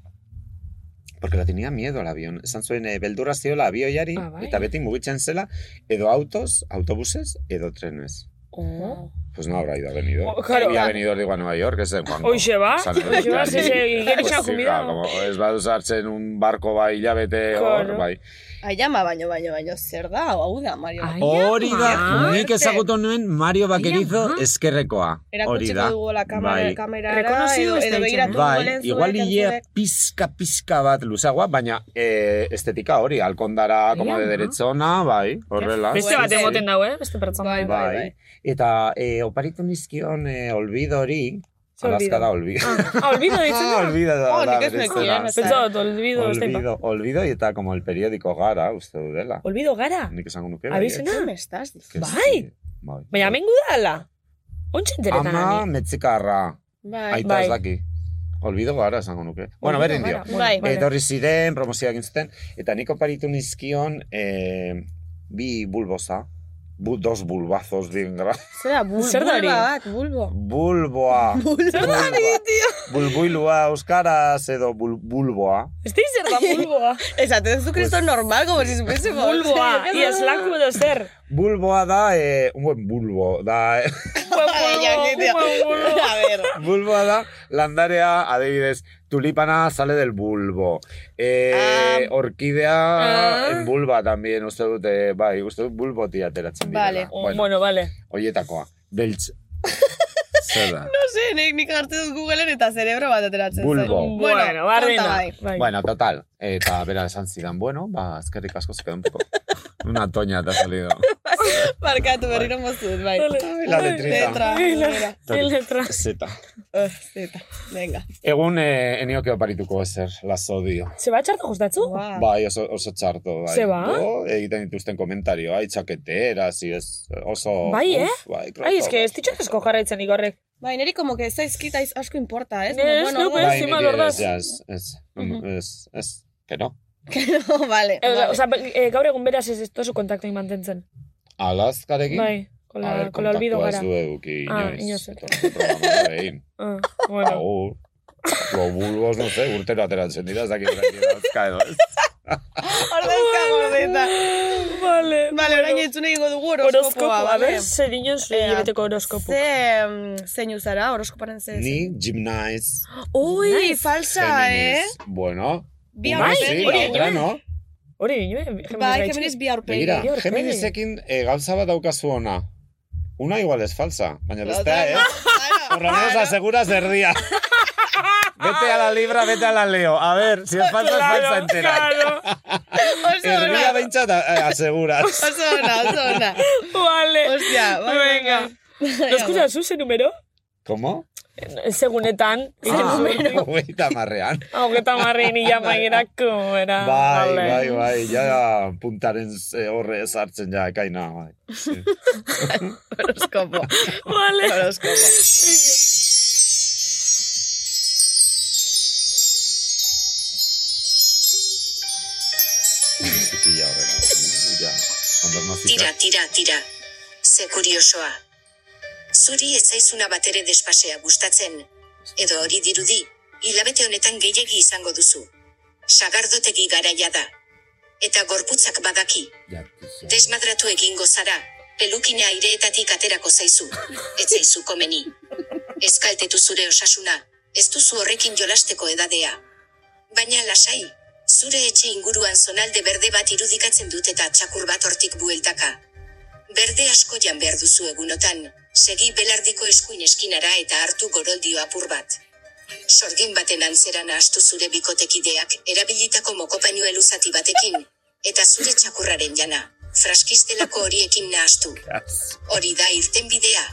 porque la tenía miedo al avión. Esan zuen, eh, beldurra ziola abioiari, Ah, bai. eta beti mugitzen zela, edo autos, autobuses, edo trenes. Oh. Pues no habrá ido a venido. Oh, claro. Había venido, digo, a Nueva York, que es en Juan. Hoxe ba, San Edo hoxe ba, Jari. ze- ze- igeritxan Pues sí, jumida. claro, como ez badu sartzen un barko bai hilabete hor, Claro. bai. Aiama, baino, baino, baino, zer da, hau da, Mario. Ai, Hori da, ama. nik ezagutu nuen Mario Bakerizo ama. eskerrekoa. Hori Erakutsiko da. dugu la kamera, Bai. kamerara, Rekonozidu edo, ez da edo hitza, begiratu Bai, Googleen igual zuek, hilea entzulek. pizka pizka bat luzagoa, baina eh, estetika hori, alkondara, Ai, como de ama. derechona, bai, horrela. Beste bat Sí, sí. emoten dau, eh? Beste pertsona. Bai, Bai. Eta eh, oparitu nizkion eh, olbido hori, Ze Alaska olvido? da olbido. Ah, olvido ditzen Ah, da. olvido da, Oh, da nik ez bere nekien, izena. ez Pentsa dut, olvido, ez da. Olvido, olvido, y eta como el periódico gara, uste du dela. Olvido gara. Nik esango nuke. bai, Abizena. Zer me estás diciendo? baietz. Bai. Que sí, Bai. Baina mengu da ala. Ontxe enteretan Ama ani. metzikarra. Bai, Aita ez Bai. daki. Olvido gara esango nuke. Bueno, Olvido berdin dio. gara. bai. Vale. Etorri ziren, promozioak egin zuten, eta niko paritu nizkion eh, bi bulboza. Bu, dos bulbazos bien gra. Zer da, bul, Zer da hori? bulba bat, bulbo. Bulboa. Bulboa. Bulbuilua euskaraz edo bul, bulboa. Ez da zer da bulboa. Esaten zu kriston normal, como si supiese Bulboa. Iaz laku edo zer. Bulboa da, eh, un buen bulbo, da, eh. A ver. Bulboa da, landarea, adibidez, tulipana sale del bulbo. Ah. Eh, orkidea, ah. en bulba también, uste dute, bai, uste dut bulboti ateratzen Vale. direla. Bueno, Bueno, vale. oietakoa, beltz. Zer da? No sé, nik, nik hartu dut Googleen eta cerebro bat ateratzen Bulbo. Bueno, konta barrena. bai. Bai. Bueno, total. Eta bera esan zidan, bueno, ba, eskerrik asko se queda un poco. Una toña te ha salido. Barkatu berriro mozut, bai. Vale. La Letra. letrita. Letra. Qué letra. Zeta. Eh, Zeta. Venga. Egun eh, enioke oparituko ezer, lazo dio. Se va a echar gustatzu? Wow. Bai, oso, oso txarto, bai. Ze ba? Bo, egiten dituzten komentario, ai, txaketeras, i ez, oso... Bai, eh? uf, bai, Ai, es que ez ditxot asko jarraitzen eh. igorrek. Bai, neri como que ez zaizkit aiz- asko importa, ez? Ne, ez dugu Bai, orduan- encima, niri lordaz. ez, ja, ez, ez, ez, ez, que no. No, vale. Eh, vale. o sea, eh, gaur egun beraz ez ez tozu kontaktu mantentzen. Alazkarekin? Bai. Con la, con la olvido gara. Kontaktua ez du eduki Ah, inoiz. inoiz. Ah, inoiz. Ah, bueno. Agur. Globulgos, no sé, urtero ateratzen dira, ez dakit orain dauzka edo ez. Ordezka gordeta. Vale. Vale, orain entzun egingo dugu horoskopoa, Horoskopoa, a bale? ber, zer dinon zure Ea. hilabeteko horoskopu. Ze, mm, zein uzara, horoskoparen ze... Ni gimnaiz. Ui, falsa, eh? Géminis. Bueno, Bi una aurpegi. sí, la otra no. Hori dinuen, Bai, Géminis Géminis gaitxik. bi aurpegi. Begira, Ni aurpegi. Geminisekin eh, gauza bat daukazu ona. Una igual es falsa, baina La bestea otra ez. no. Claro, Por lo menos claro. aseguras erdia. Vete a la libra, vete a la leo. A ver, si es falsa, es falsa Claro, entera. claro. Oso Erdia ona, behintzat eh, aseguras. oso ona, oso ona. Vale. Ostia, bai, bai, Venga. bai. ¿No escuchas su ese número? Como? Segunetan, ese Ah. número. Hogeita marrean. Aunque tamarrin y llama era como era. Bai, Vale. bai, bai, ja puntaren eh, horre sartzen ja, ekaina, bai. Sí. Horoskopo. Vale. Horoskopo. Zikila horrela, uh, ja. Ondorno Tira, zikak. tira, tira. Ze kuriosoa. Zuri ez zaizuna bat ere despasea gustatzen. Edo hori dirudi, hilabete honetan gehiegi izango duzu. Sagardotegi garaia da. Eta gorputzak badaki. Ja, tira. Desmadratu egingo zara, pelukina aireetatik aterako zaizu, ez zaizu komeni. Ez kaltetu zure osasuna, ez duzu horrekin jolasteko edadea. Baina lasai, zure etxe inguruan zonalde berde bat irudikatzen dut eta txakur bat hortik bueltaka. Berde asko jan behar duzu egunotan, segi belardiko eskuin eskinara eta hartu goroldio apur bat. Sorgin baten antzeran astu zure bikotekideak erabilitako mokopaino eluzati batekin, eta zure txakurraren jana, fraskistelako horiekin nahastu. Hori da irtenbidea.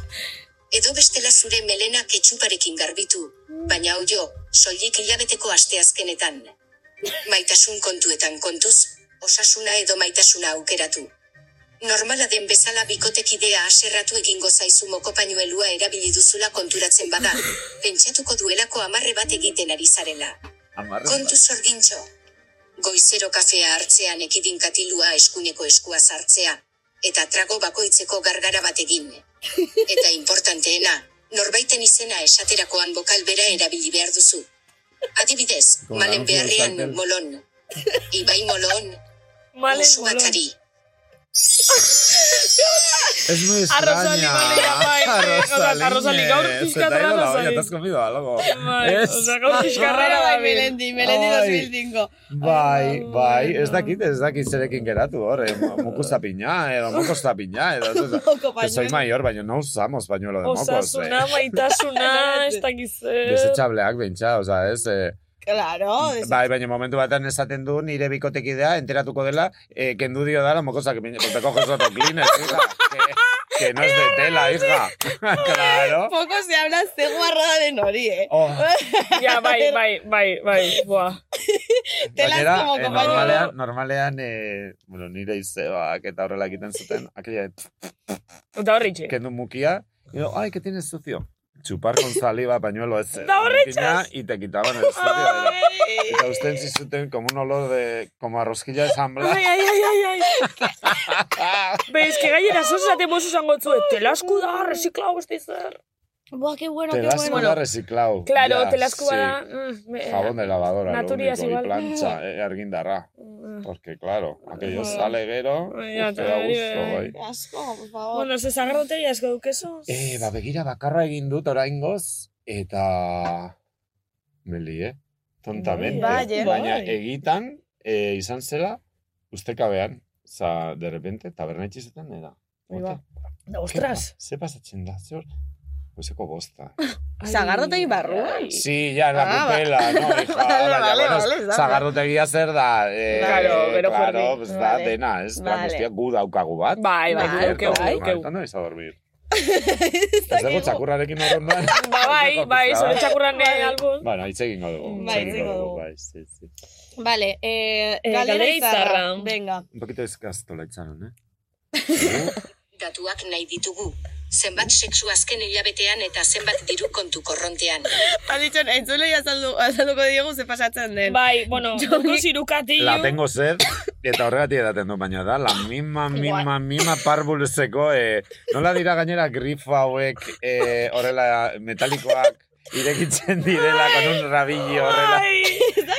Edo bestela zure melena ketxuparekin garbitu, baina oio, soilik hilabeteko asteazkenetan. Maitasun kontuetan kontuz, osasuna edo maitasuna aukeratu. Normala den bezala bikotekidea aserratu egingo zaizu mokopainoelua erabili duzula konturatzen bada, pentsatuko duelako amarre bat egiten ari zarela. Amarren Kontu zorgintxo. Goizero kafea hartzean ekidin katilua eskuneko eskua sartzea, eta trago bakoitzeko gargara bat egin. Eta importanteena, norbaiten izena esaterakoan bokal bera erabili behar duzu. Adibidez, Como anuncio malen del beharrean cartel. molon. Ibai molon, Vale. musu batzari. Es muy A extraña. Rosalía, vale, ya va, A eh, o sea, a Rosalía, gaur eh, pixka se te ha ido la atrás, olla, Rosalía. te has comido algo. Bai, Ez. osea, gaur Karrera pixkarrera bai, dabil. Melendi, Melendi Ai. 2005. Bai, bai, ez bueno. dakit, ez dakit zerekin geratu hor, eh, mo- mocos tapiña, edo mocos tapiña, edo ez ez- Que soy mayor, baina no usamos pañuelo de mocos, Osasuna, eh. maitasuna, ez dakiz. eh. Desetxableak bentsa, oza, ez, eh, Claro, ez- bai, baina momentu batean esaten du nire bikotekidea enteratuko dela, eh, kendu dio dala mokosak, pues te coges otro Kleenex, hija, que, que no es de tela, hija. claro. Poco se habla ze guarrada den hori, eh? Oh, Ja, bai, bai, bai, bai. Buah. Telas Gainera, como eh, compañero. normalean, normalean, eh, bueno, nire izebak eta horrela egiten zuten, aquella, Eta horri txik. kendu mukia, y yo, ay, que tienes sucio. Chupar con saliva, pañuelo ese. Da horretxaz. Y te quitaban el sucio. eh. Y te usten zizuten como un olor de, como a rosquilla de San Blas. Ai, Bai, ai, ai, ai, ai. Bez, que gainera zozate mozu zango zuet, telasku da, reciclao beste zer. Buah, qué bueno, Te qué das bueno. una reciclado. Claro, Ja, telasku sí. bada. mm, me- Jabón de lavadora, Naturías lo único, igual. y plancha, eh, argindarra. Mm. Porque claro, aquello sale gero, Baina, uste da te- gusto, bai. Qué asco, por favor. Bueno, ze zagarrote jasko dukezu. Eh, ba, begira bakarra egin dut oraingoz eta meli, eh? Tontamente. Bai, bai, eh. Baina Bai. egitan eh, izan zela ustekabean, za, de repente, taberna itxi zuten da. Oiba. Da, ostras. Ze pasatzen da, ze hor? Goizeko bosta. Sagardotegi barruan. Sí, ya, la Ah, kupela, no, hija, Vale, baina, vale, bueno, vale, ez da, zagardotegia zer da, eh, Claro, gero claro, jardin. pues Vale. da dena, ez, da, Vale. guztia gu daukagu bat. Bai, bai, Bai, dukeu, Eta, dukeu. ¿Cuándo vais a dormir? Ez dago txakurrarekin horrendan. Ba, bai, bai, zure txakurran eh, albun. Bueno, hitz egingo dugu. hitz Bai, egingo egingo dugu, dugu. Bai, sí, sí. Vale, eh, Eh, galdera galdera izarra. izarra. Venga. Un poquito escastola itxaron, eh? Datuak nahi ditugu, Zenbat sexu azken hilabetean eta zenbat diru kontu korrontean. Alitzen, entzulei azaldu, azalduko diogu ze pasatzen den. Bai, bueno, duko zirukati. La tengo sed, eta horregatik edaten du, baina da, la mima, mima, mima parbulezeko, eh, nola dira gainera grifo hauek, eh, horrela, metalikoak, irekitzen direla, con un rabillo horrela.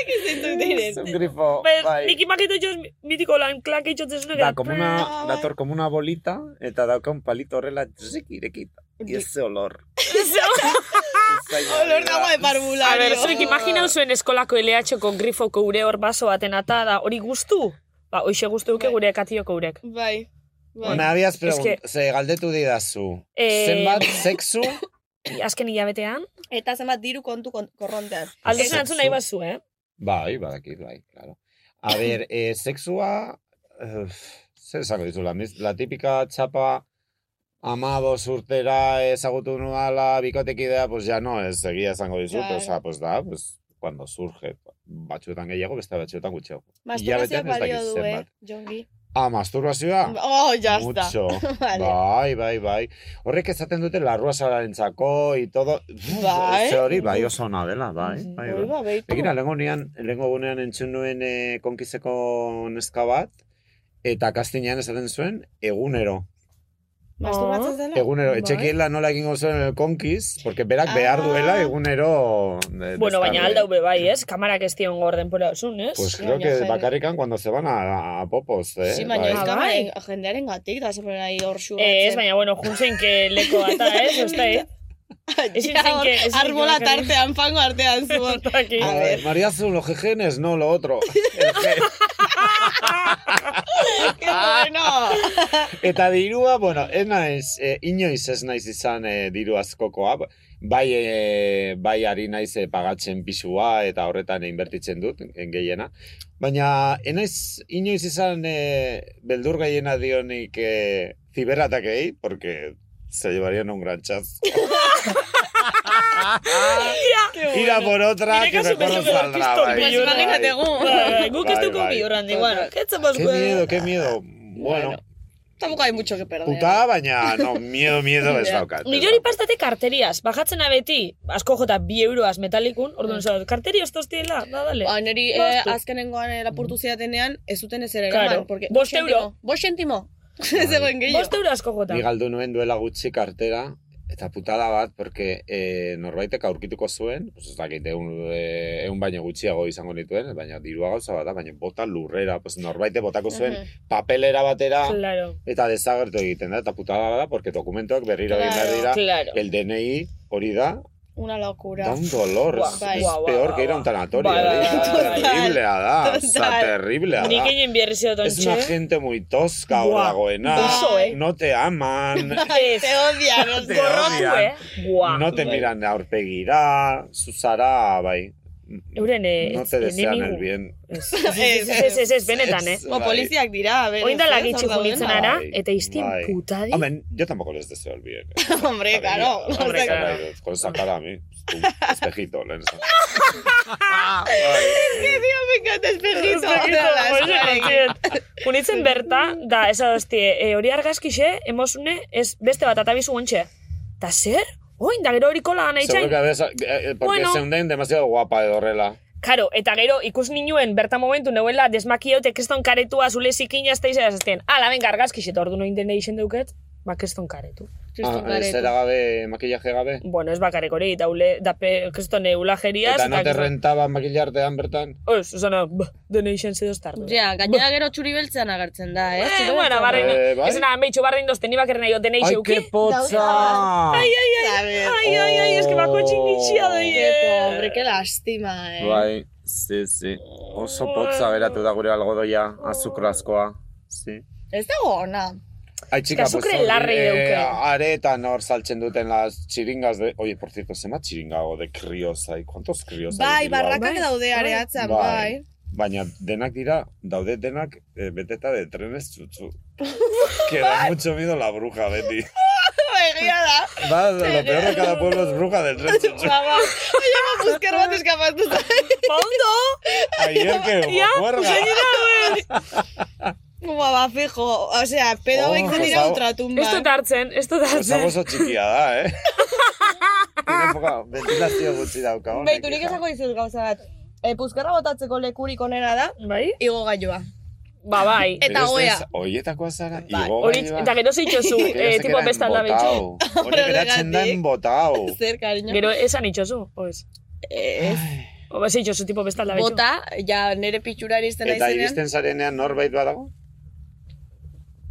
Es un grifo, Bai. bai. Nik imakito itxoz mitiko lan klak itxotzen zuen. Da, como una, dator como una bolita, eta dauka un palito horrela, tzik, irekita. Y ese olor. Ah, Olor dago de A ber, parvulario. zuek imaginau zuen eskolako LH-ko grifoko ure hor baso baten atada, hori guztu? Ba, hoxe guztu duke gure katioko urek. Bai. bai. Ona, abiaz pregunt, que- ze galdetu didazu. Eh, Zenbat, sexu, Azken hilabetean. Eta zenbat diru kontu kon- korrontean. Aldo Ez, zen antzun nahi bazu, eh? Bai, badakit, bai, claro. A ber, eh, sexua... eh, zer esango dizu, la, mis- la típica txapa amado urtera ezagutu nudala bikotekidea, pues ya no, ez egia esango dizu, Claro. pues, ah, pues da, pues, cuando surge, batzuetan gehiago, beste batzuetan gutxiago. Masturbazioak Hilabetean ez balio dakit du, eh, zenbat. Jongi. Ah, masturbazioa? Oh, jazta. Mucho. Vale. Bai, bai, bai. Horrek ezaten dute larrua zararentzako, y todo. Bai. Ze hori, bai, oso ona dela, bai. bai, bai. Oiba, beitu. Begira, lehenko nean, lehenko gunean entzun nuen eh, konkizeko neska bat, eta kastinean esaten zuen, egunero. Masturbatzen bai. zela? Egunero, etxekiela nola egingo zuen el konkiz, porque berak behar Ah. duela egunero... eh, Bueno, baina deskargue. aldau be bai, ez? Kamarak ez dion gor denpora osun, ez? Pues Sí, creo baina que jende- bakarrikan cuando se van a, a popos, eh? Sí, baina bai. ez Ah, kamaren bai. jendearen gatik, da zepen nahi hor xu. Eh, ez, baina, bueno, juntzen que leko ata, ez? Osta, eh? ezin zen ke- ezin zen Arbola bakarrik. tartean, fango artean zuon. Zutaki. A ver, María Azul, los jejenes, no, lo otro. El je- Que bueno! Eta dirua, bueno, ez naiz, eh, inoiz ez naiz izan eh, diru askokoa, ba- bai, eh, bai ari naiz eh, pagatzen pisua eta horretan inbertitzen dut, en gehiena. Baina, ez naiz inoiz izan eh, beldur gehiena dionik eh, ziberatakei, porque se llevarían un gran chasco. Gira por otra, Nire que kasu mejor pensó nos que era saldrá. pistol bai, billurra. bai. Imagínate gu. Bai, Guk ez Bai, duko bai. bihurran, bueno, ¿qué hacemos, Qué güey? miedo, qué miedo. Bueno, Tampoco hay mucho que perder. putada baina, no, miedo, miedo ez daukat. ez Miliori daukat. pastate karteriaz, bajatzen abeti, asko jota bi euroaz metalikun, orduan zau, karteri ostos diela, da, dale. Ba, niri eh, azkenengoan eh, lapurtu zidatenean, ez zuten ez ere eraman. Claro. porque- Bost centimo, euro. Bost sentimo. Ez zegoen gehiago. Bost euro asko jota. Ni galdu nuen duela gutxi kartera, eta putada bat, porque eh, norbaitek aurkituko zuen, pues, ez dakit, egun, eh, egun baino gutxiago izango nituen, baina dirua gauza bat da, baina bota lurrera, pues, norbaite botako zuen papelera batera, Claro, eta desagertu egiten da, eta putada bat da, porque dokumentuak berriro egin Claro, behar dira, claro. el DNI hori da, Una locura. da un dolor, Guau, es, bai. es Guau, guau, peor guau, que ir a un guau. tanatorio, Bai, bai, eh, bai, bai. terriblea da, Total. oza, terriblea Nik da. egin bierri zio Es una tontxe. gente muy tosca hor Guau. dagoena, Oso, eh. no te aman, Ez, Te odian. Te gorrotu, odian. eh? Buah. No te miran aurpegira, zuzara, bai. Euren, eh, no te ez- desean enemigo. el bien. Ez, ez, ez, ez, ez, ez, benetan, eh? Bo, poliziak dira, a ver. Oin eh, dala ez, gitxi hor dauden. julitzen ara, Bai, eta iztien bai. putadi. Hombre, yo tampoco les deseo el bien. eh. Hombre, claro. Hombre, Hombre, claro. claro. Con esa cara a mí. Un espejito. le- Me encanta espejito. Ah, Unitzen berta, da, ez adostie, e, hori argazkixe, emozune, ez beste bat atabizu ontxe. Ta zer? Oin, da gero hori kola gana Seguro itxain. que a veces, eh, eh, porque Bueno. se hunden demasiado guapa eh, de horrela. Karo, eta gero ikus ninuen berta momentu neuela desmakiote keston karetua zule zikina ez da izan azten. Ala, venga, argazkixe, eta ordu noin dene izen deuket, ba, keston karetu. Ah, eh, Zera gabe, maquillaje gabe. Bueno, ez bakarrik hori, eta ule, da pe, keston eulajeriaz. Eta no te keston- rentaba maquillartean bertan. Ez, osana, dene izen zedoztardu. Ja, gainera gero txuri beltzean agertzen da, eh? Eh, Txuri bueno, beltzean. barrein, Eh, bai. ez nada, meitxu barrein dozten ibak erne jo denei ¡Ay, zeuki. qué pocha! ¡Ay, ay, A ver. Ai, ai, ai, eske bako txinitxia Oh. doi, Qué pobre, qué lástima, eh. Bai, sí, sí. Oso potza beratu da gure algodoia, azukrazkoa. Sí. Ez dago ona. Bai, Ay, chica, Eta pues, azukre larri eh, dauke. aretan hor saltzen duten las chiringas de... Oye, por cierto, zema chiringago de crios hay? ¿Cuántos crios hay? Bai, en Bilbao? barrakak daude areatzen, Bai. bai. Baina denak dira, daude denak eh, beteta de trenes txutxu. que da mucho miedo la bruja, Betty. Egia da. Va, Bai, lo peor de cada pueblo es bruja del tren txutxu. Baba, oia, ba, busker bat eskapatu zait. Ba, ondo! Ayer que Ja, huerga. gainera, Bua, bai. ba, fijo. Osea, pedo Oh, baitzen dira osago- ultratumban. Esto tartzen, esto Osa tartzen. oso txikia da, eh? Tiene poca ventilazio gutxi dauka. honek, Beitu, nik hija. esako dizut gauza bat. E, puzkerra botatzeko lekurik onena da, Bai? igo gaioa. Ba, bai. Eta Pero ez goea. da ez- Oietakoa zara, Bai. igo Hori, gailua. eta gero zeitxozu, Gero eh, ez tipo gara besta alda betxu. enbotao. Hori geratzen da Horregatik. enbotao. Zer, cariño. Gero esan itxozu, oez. Eh, ez. O ba, zeitxozu, tipo besta Ah, alda betxu. Bota, ja nere pitxura iristen Eta naizenean. iristen zarenean norbait badago?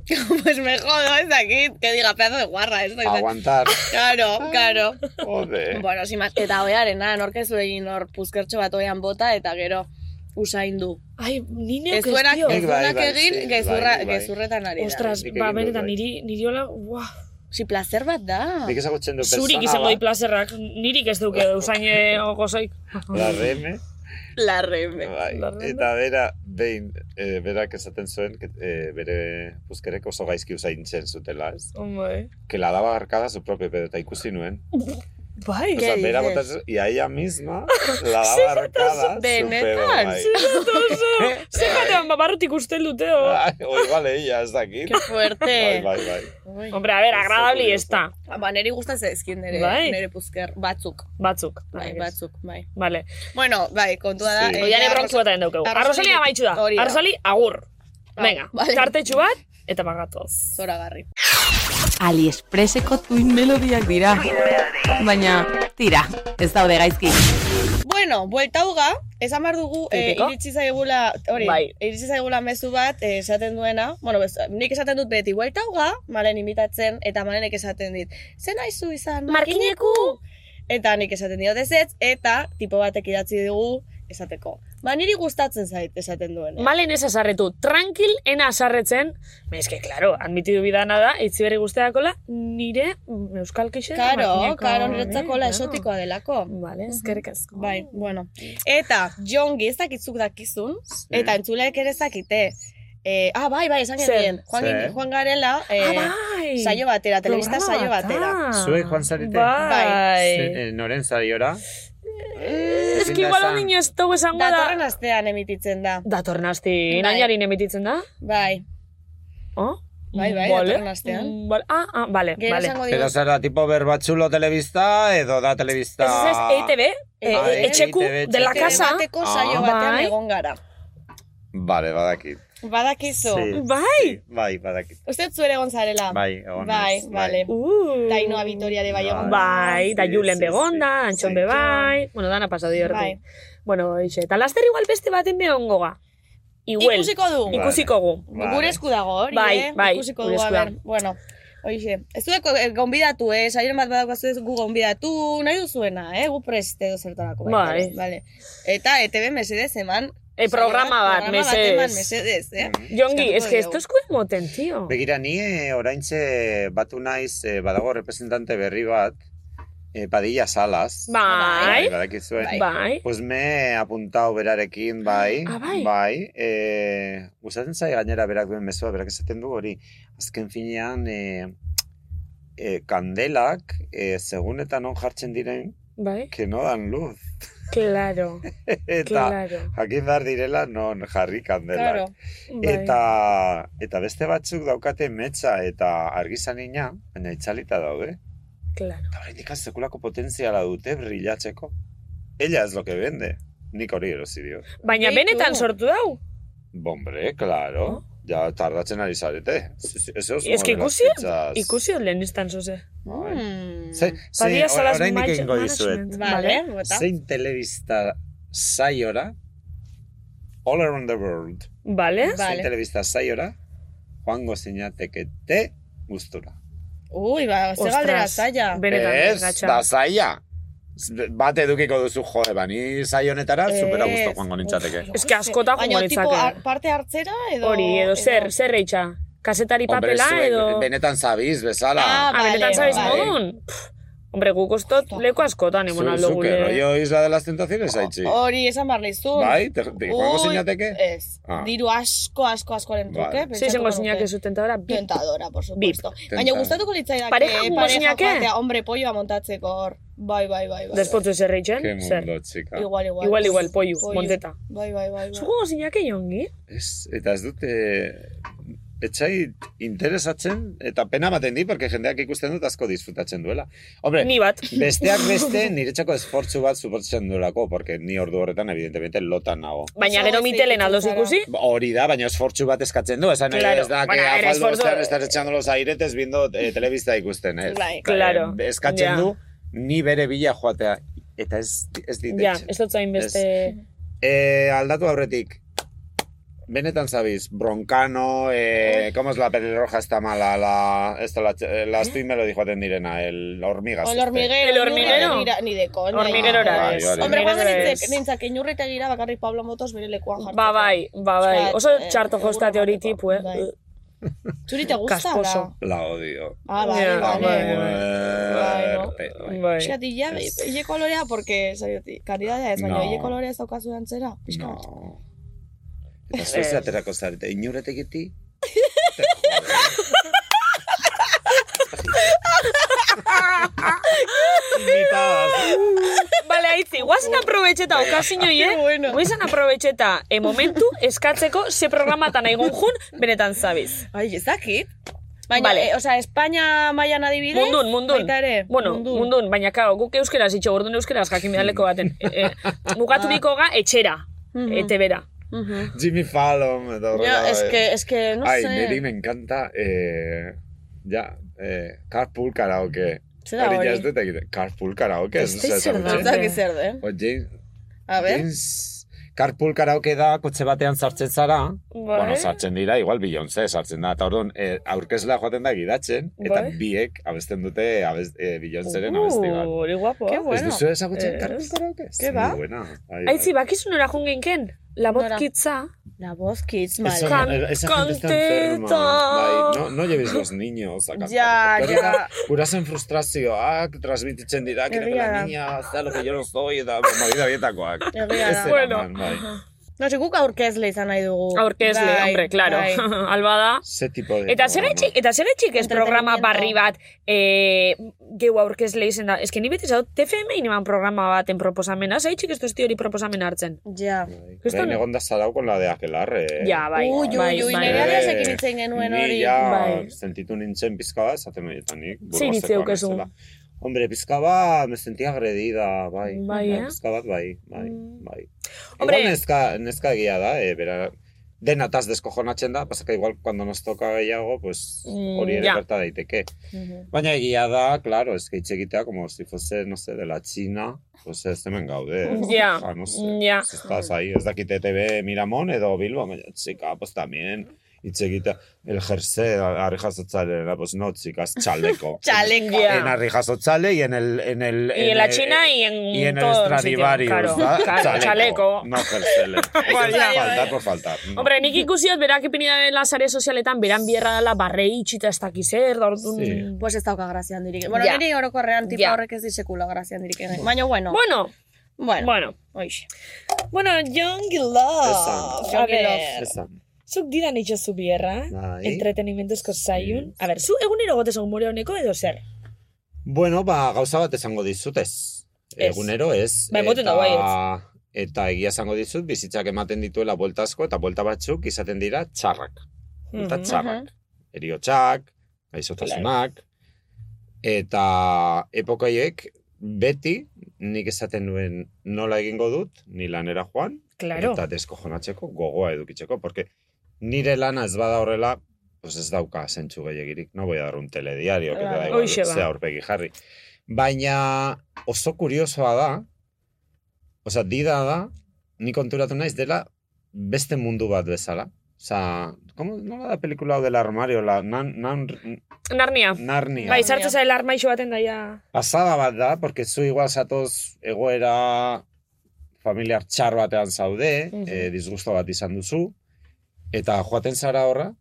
Pues me jodo, ez dakit. Que diga, pedazo de guarra, ez dakit. Aguantar. Claro, claro. Jode. Bueno, sin más. Eta oearen, ah, norkezu egin hor puzkertxo bat oean bota, eta gero usaindu. Ai, ni Ez neok ez duenak, dio. Nik ez bai, duenak bai, egin, sí, gezurra, bai, bai. gezurretan ari da. Ostras, Nik egin ba, dut, benetan, bai. niri, niri hola, buah. Si placer bat da. Nik ezagutzen du persona Zurik izango bat, di plazerrak, nirik ez duke usaine gozoik. La reme. La reme. Bai. Larrena. Eta bera, behin, eh, berak esaten zuen, que, eh, bere puzkerek oso gaizki usaintzen zutela, ez? Hombre. Que la daba garcada su propio pedo, eta ikusi nuen. Bai, O sea, ¿Qué bera dices? botatzen, y a ella misma la daba garcada su pedo, Benetan, bai. Oso, zehatean babarrutik uste dute, o. Ah. Ai, O igual ella, ez dakit. Qué Bai, fuerte. bai, bai. Hombre, a ver, Oso agradabli curioso. ez da. Ba, neri gustatzen zaizkin nere, Bai. nere puzker. Batzuk. Batzuk. Bai, batzuk, bai. Vale. Bueno, bai, kontua da. Sí. eh, Oian ja, ebrontzua eta endaukagu. Arrosali- Arrosali amaitxu da. Hori da. Arrosali, agur. Ah, Venga, vale. tartetxu bat, eta bagatoz. Zoragarri. Aliexpreseko tuin melodiak dira. Baina, tira, ez daude gaizki. Bueno, buelta uga, esan behar dugu eh, Betiko? iritsi zaigula, hori, Bai. iritsi zaigula mezu bat eh, esaten duena, bueno, bez, nik esaten dut beti, buelta uga, malen imitatzen, eta malenek esaten dit, zen aizu izan, markineku! Eta nik esaten diot ez ez, eta tipo batek idatzi digu esateko. Ba, niri gustatzen zait esaten duena. Malen ez azarretu, tranquil ena azarretzen, me eske, claro, admitidu bidana da, itzi berri guzteakola, nire mm, euskal kixe. Karo, makineko. eh, karo, niretzako la Claro. esotikoa delako. Vale, eskerrik asko. Ah, Bai, bueno. Eta, jongi, ez dakitzuk dakizun, eta entzuleek ere ez dakite. Eh, ah, bai, bai, esan Zer? genien. Juan, Zer? gin- Juan Garela, Ah, eh, bai. ah. saio batera, telebista saio batera. Zuek joan zarete? Bai. Eh, Noren zariora? Ez Eh, Ezin que da igual esan. ondino ez dugu esango da. Datorren astean emititzen da. Datorren asti, Bai. nainarin emititzen da? Bai, Oh? Bai, bai, Vale. datorren astean. Mm, Vale. Ah, ah, vale, gero vale. esango digu. Pero zara, tipo berbatzulo telebista edo da telebista... Ez ez ez, EITB, eh, Ah, eh, etxeku, E EITB, de la Tele casa. Bateko Ah. saio batean Bai. egon gara. Vale, badakit. Badakizu. Sí. Bai! Bai, badakit. Uste zu ere egon zarela. Bai, egon Bai, naiz, vale. Uh. Dainoa Vitoria de bai egon. Bai, da Sí, Julen sí, begonda, sí, Antxon sí. be bai. Bueno, dana pasado dio Bai. Bueno, ixe, eta laster igual beste baten behongo ga. Iguel, Ikusiko dugu. ikusiko gu. Vale. Gure esku dago hori, Bai, eh? bai, Ikusiko gure dugu, a esku da. ber. Bueno, hoxe. Ez dueko eh, gonbidatu, eh? Saioren bat badaukazu ez gu gonbidatu nahi duzuena, eh? Gu preste edo zertarako. Bai. Vale. Eta ETV mesedez eman. E, programa bat, programa eman meses. mesedez, eh? Mm-hmm. Jongi, Eskatuko es que diogu. esto esku emoten, tío. Begira, ni eh, oraintxe batu naiz eh, badago representante berri bat, eh, Padilla Salas. Bai, badakizue. bai. Pues me he apuntado berarekin, bai. Ah, bai? Eh, gustatzen zai gainera berak duen mezua, berak esaten du hori. Azken finean, eh, eh, kandelak, eh, segun eta non jartzen diren, Bai, que no dan luz. claro, eta claro. jakin behar direla non jarri kandelak. Claro. Bai. Eta, eta beste batzuk daukate metza eta argizanina, baina itzalita daude. Claro. Eta horretik sekulako potentziala dute brillatzeko. Ella es lo que vende. Nik hori erosi dio. Baina Beitu. benetan sortu dau. Bombre, claro. Ja, tardatzen ari zarete. Ez Ez que ikusi, ikusi hor lehen instan zoze. Mm. Ze, zein, Badia salas oraindik manage- egingo dizuet. management. Vale, bota. Zein telebista saiora, all around the world, Vale. zein Vale. telebista saiora, joango zinatekete gustura. Ui, ba, ze Ostras, galdera zaila. Benetan, Ez, gatxa. da zaila. Bat edukiko duzu, jo, ba, ni zai honetara Ez. supera gusto joango nintzateke. Ez que askota Baina, joango tipo, nintzake. ar- parte hartzera edo... Hori, edo zer, zer reitxa. Kasetari Hombre, papela zuek edo... benetan zabiz, bezala. Ah, Ah, benetan Vale, sabes vale. modun? Pff, Hombre, guk ostot leko askotan Zu- emon aldo zuke, gure. Oh, rollo Isla de las Tentaciones, haitzi. Hori, esan barri zuen. Bai, te, te joango zinateke? Ez. Ah. Diru asko, asko, askoren Vale. truke. Sei pentsatuko zengo zinak nuke. ez zuten taora, bi. Tentadora, por supuesto. Baina Tentadora. gustatuko litzaidake Pareja jungo zinake? joatea, hombre, polloa montatzeko hor. Bai, bai, bai, bai. Despotzu zer Ke reitxen, zer. mundo, txika. Igual, igual. Igual, igual, pollo, monteta. Bai, bai, bai, bai. Zugu gozinak jongi? Ez, eta ez dute etxai interesatzen eta pena ematen di, porque jendeak ikusten dut asko disfrutatzen duela. Hombre, Ni bat. besteak beste niretzako esfortzu bat suportzen duelako, porque ni ordu horretan, evidentemente, lotan nago. Baina gero mitelen aldoz ikusi. Ba, Hori da, baina esfortzu bat eskatzen du, esan Claro. claro. ez da, que Bueno, bueno, era afaldu esfortzu- ostean estás echando los airetes bindo eh, telebista ikusten, ez? Bai, Eh, claro. Eskatzen Ja. du, ni bere bila joatea, eta ez, ez dit Ja, etxen. ez dut zain beste... Eh, aldatu aurretik, benetan zabiz, Broncano, eh, ¿cómo es la pelirroja esta mala? La, esto, la, la Astui me lo dijo direna, el hormigas. ¿Eh? O el este. hormiguero. El hormiguero. Ni, ni de coña. Hormiguerora Ah, ez. bai, bai. Hombre, guazen Hormiguerora nintzak, ez. nintzak inurritegira bakarrik Pablo Motos bere lekuan jartzen. Ba bai, ba bai. Osea, Oso eh, txarto jostate hori egunerokoa, tipu, eh? bai. Zuri te gusta, Casposo. ala? La odio. Ah, bai, Ja, bai, bai, bai. Muerte, bai. Bai. Piskat, illa, hile kolorea, porque, zaioti, karidadea ez, baina No. hile kolorea ez daukazu antzera, piskat. No. Eta zuez Eh. aterako zarete, inuretek eti? Bale, aitzi, guazen aprobetxeta okaziñoi, eh? bueno. Guazen aprobetxeta e momentu eskatzeko ze programatan aigon jun benetan zabiz. Ai, ez dakit. Baina, Vale. eh, osea, Espainia mailan adibidez, Mundun, mundun. baita ere, bueno, mundun. baina kao, guk euskeraz itxo, orduan euskeraz jakin bidaleko baten. E, e, mugaturiko ga etxera, Mhm. etebera. Jimmy Fallon, eta Ja, horrela, es bai. que, es que, no Ay, sé. niri me encanta, eh, ja, eh, carpool karaoke. Zer da Hori hori? ja ez dut egiten. Carpool karaoke. Ez dakit zer Ez da. da. dakit zer den. A ver. James... Carpool karaoke da, kotxe batean sartzen zara. Bai. Bueno, sartzen dira, igual Beyoncé sartzen da. Eta orduan, eh, aurkezla joaten da gidatzen, eta Bai. biek abesten dute abez, eh, Beyoncéren abesti bat. Hori guapo. Qué eh? Ez Uh, bueno. duzu ezagutzen Eh, Carpool karaoke? ¿qué Ez va? Muy buena. Ay, Aitzi, bakizu nora jun genken? La Nora? Bai, botkitza. La voz kids, Eso madre. no, esa gente está enferma. Canteta. Bai, no, no lleves los niños a cantar. Ya, porque ya. ahorita Gurasoen frustrazioak transmititzen dira, que Egia la da. niña, está lo que yo no soy, eta movida bietakoak. Egia da. Ez Bueno. eraman, bai. No, sé, guk aurkezle izan nahi dugu. Aurkezle, Bai, hombre, claro. bai. Alba da. Ze tipo de... Eta zer programa. etxik, eta zer etxik ez programa Entretenimiento. barri bat e, geu aurkezle izen da. Ez que ni beti zaut, TFM ineman programa baten proposamena, zer etxik ez duzti hori proposamen hartzen. Ja. Kriston- Behin egon da zarau con la de Aquelarre. eh. Ja, bai. Ui, ui, bai, ui, bai. nire aldeaz ekin hitz egin genuen hori. Ni ja, Bai. sentitu nintzen pizka bat, zaten noietanik. Zein hitz eukezu? Hombre, pizka bat, me sentía agredida, bai. Bai, eh? Mm. Pizka bat, bai, bai, bai. Hombre. Igual neska, neska egia da, eh, bera, denataz deskojonatzen da, pasaka igual cuando nos toca gehiago, pues Mm, hori ere ja. gerta daiteke. Baina egia da, claro, es que hitz egitea, como si fuese, no sé, de la China, pues ez hemen gaude. Ja, Ah, no sé. ja. Pues estás ahí, ez dakit ETB Miramon edo Bilbo, baina txika, pues tamien, hitz egita, el jerse, arri jasotzarela, pues no, txikas, chaleco. Txaleko. Ja. En arri jasotzale y en el... En el eh, Y en la China y en Y en el todo sitio, Stradivarius, claro. ¿da? Claro, chaleco. No jersele. Igual, ya. faltar por faltar. no. Hombre, nik ikusiot berak ipini dela sare sozialetan beran bierra dela barrei itxita ez dakizer, da orduan... Sí. Pues ez dauka grazian dirik. Bueno, Ja. niri orokorrean tipo Ja. horrek ez disekula grazian dirik. ere. Baina, bueno. mm. Bueno, Bueno. bueno. Oixe. Bueno, Young Love. Esan. A ver, Esan. zuk didan itxazu bierra, Bai. entretenimentuzko zaiun. A ver, zu egunero gotez humore honeko edo zer? Bueno, ba, gauza bat esango dizut ez. Ez. Egunero ez. Ba, emoten da, bai, Eta egia esango dizut, bizitzak ematen dituela buelta asko eta buelta batzuk izaten dira txarrak. Buelta Mhm. txarrak. Eriotxak, gaizotasunak. Eta epokaiek beti nik esaten duen nola egingo dut, ni lanera joan, Claro. eta deskojonatzeko gogoa edukitzeko, porque nire lana ez bada horrela, pues ez dauka zentsu gehiegirik, no voy a dar un telediario, que te da Claro. igual, Hoxe ba. ze aurpegi jarri. Baina oso kuriosoa da, osea, dida da, ni konturatu naiz dela beste mundu bat bezala. Osa, como, nola da pelikula hau del armario, la nan, nan, Narnia. Narnia. Bai, sartu zaila armaixo baten daia. Pasada bat da, porque zu igual zatoz egoera familiar txar batean zaude, Mhm. eh, disgusto bat izan duzu, eta joaten zara horra,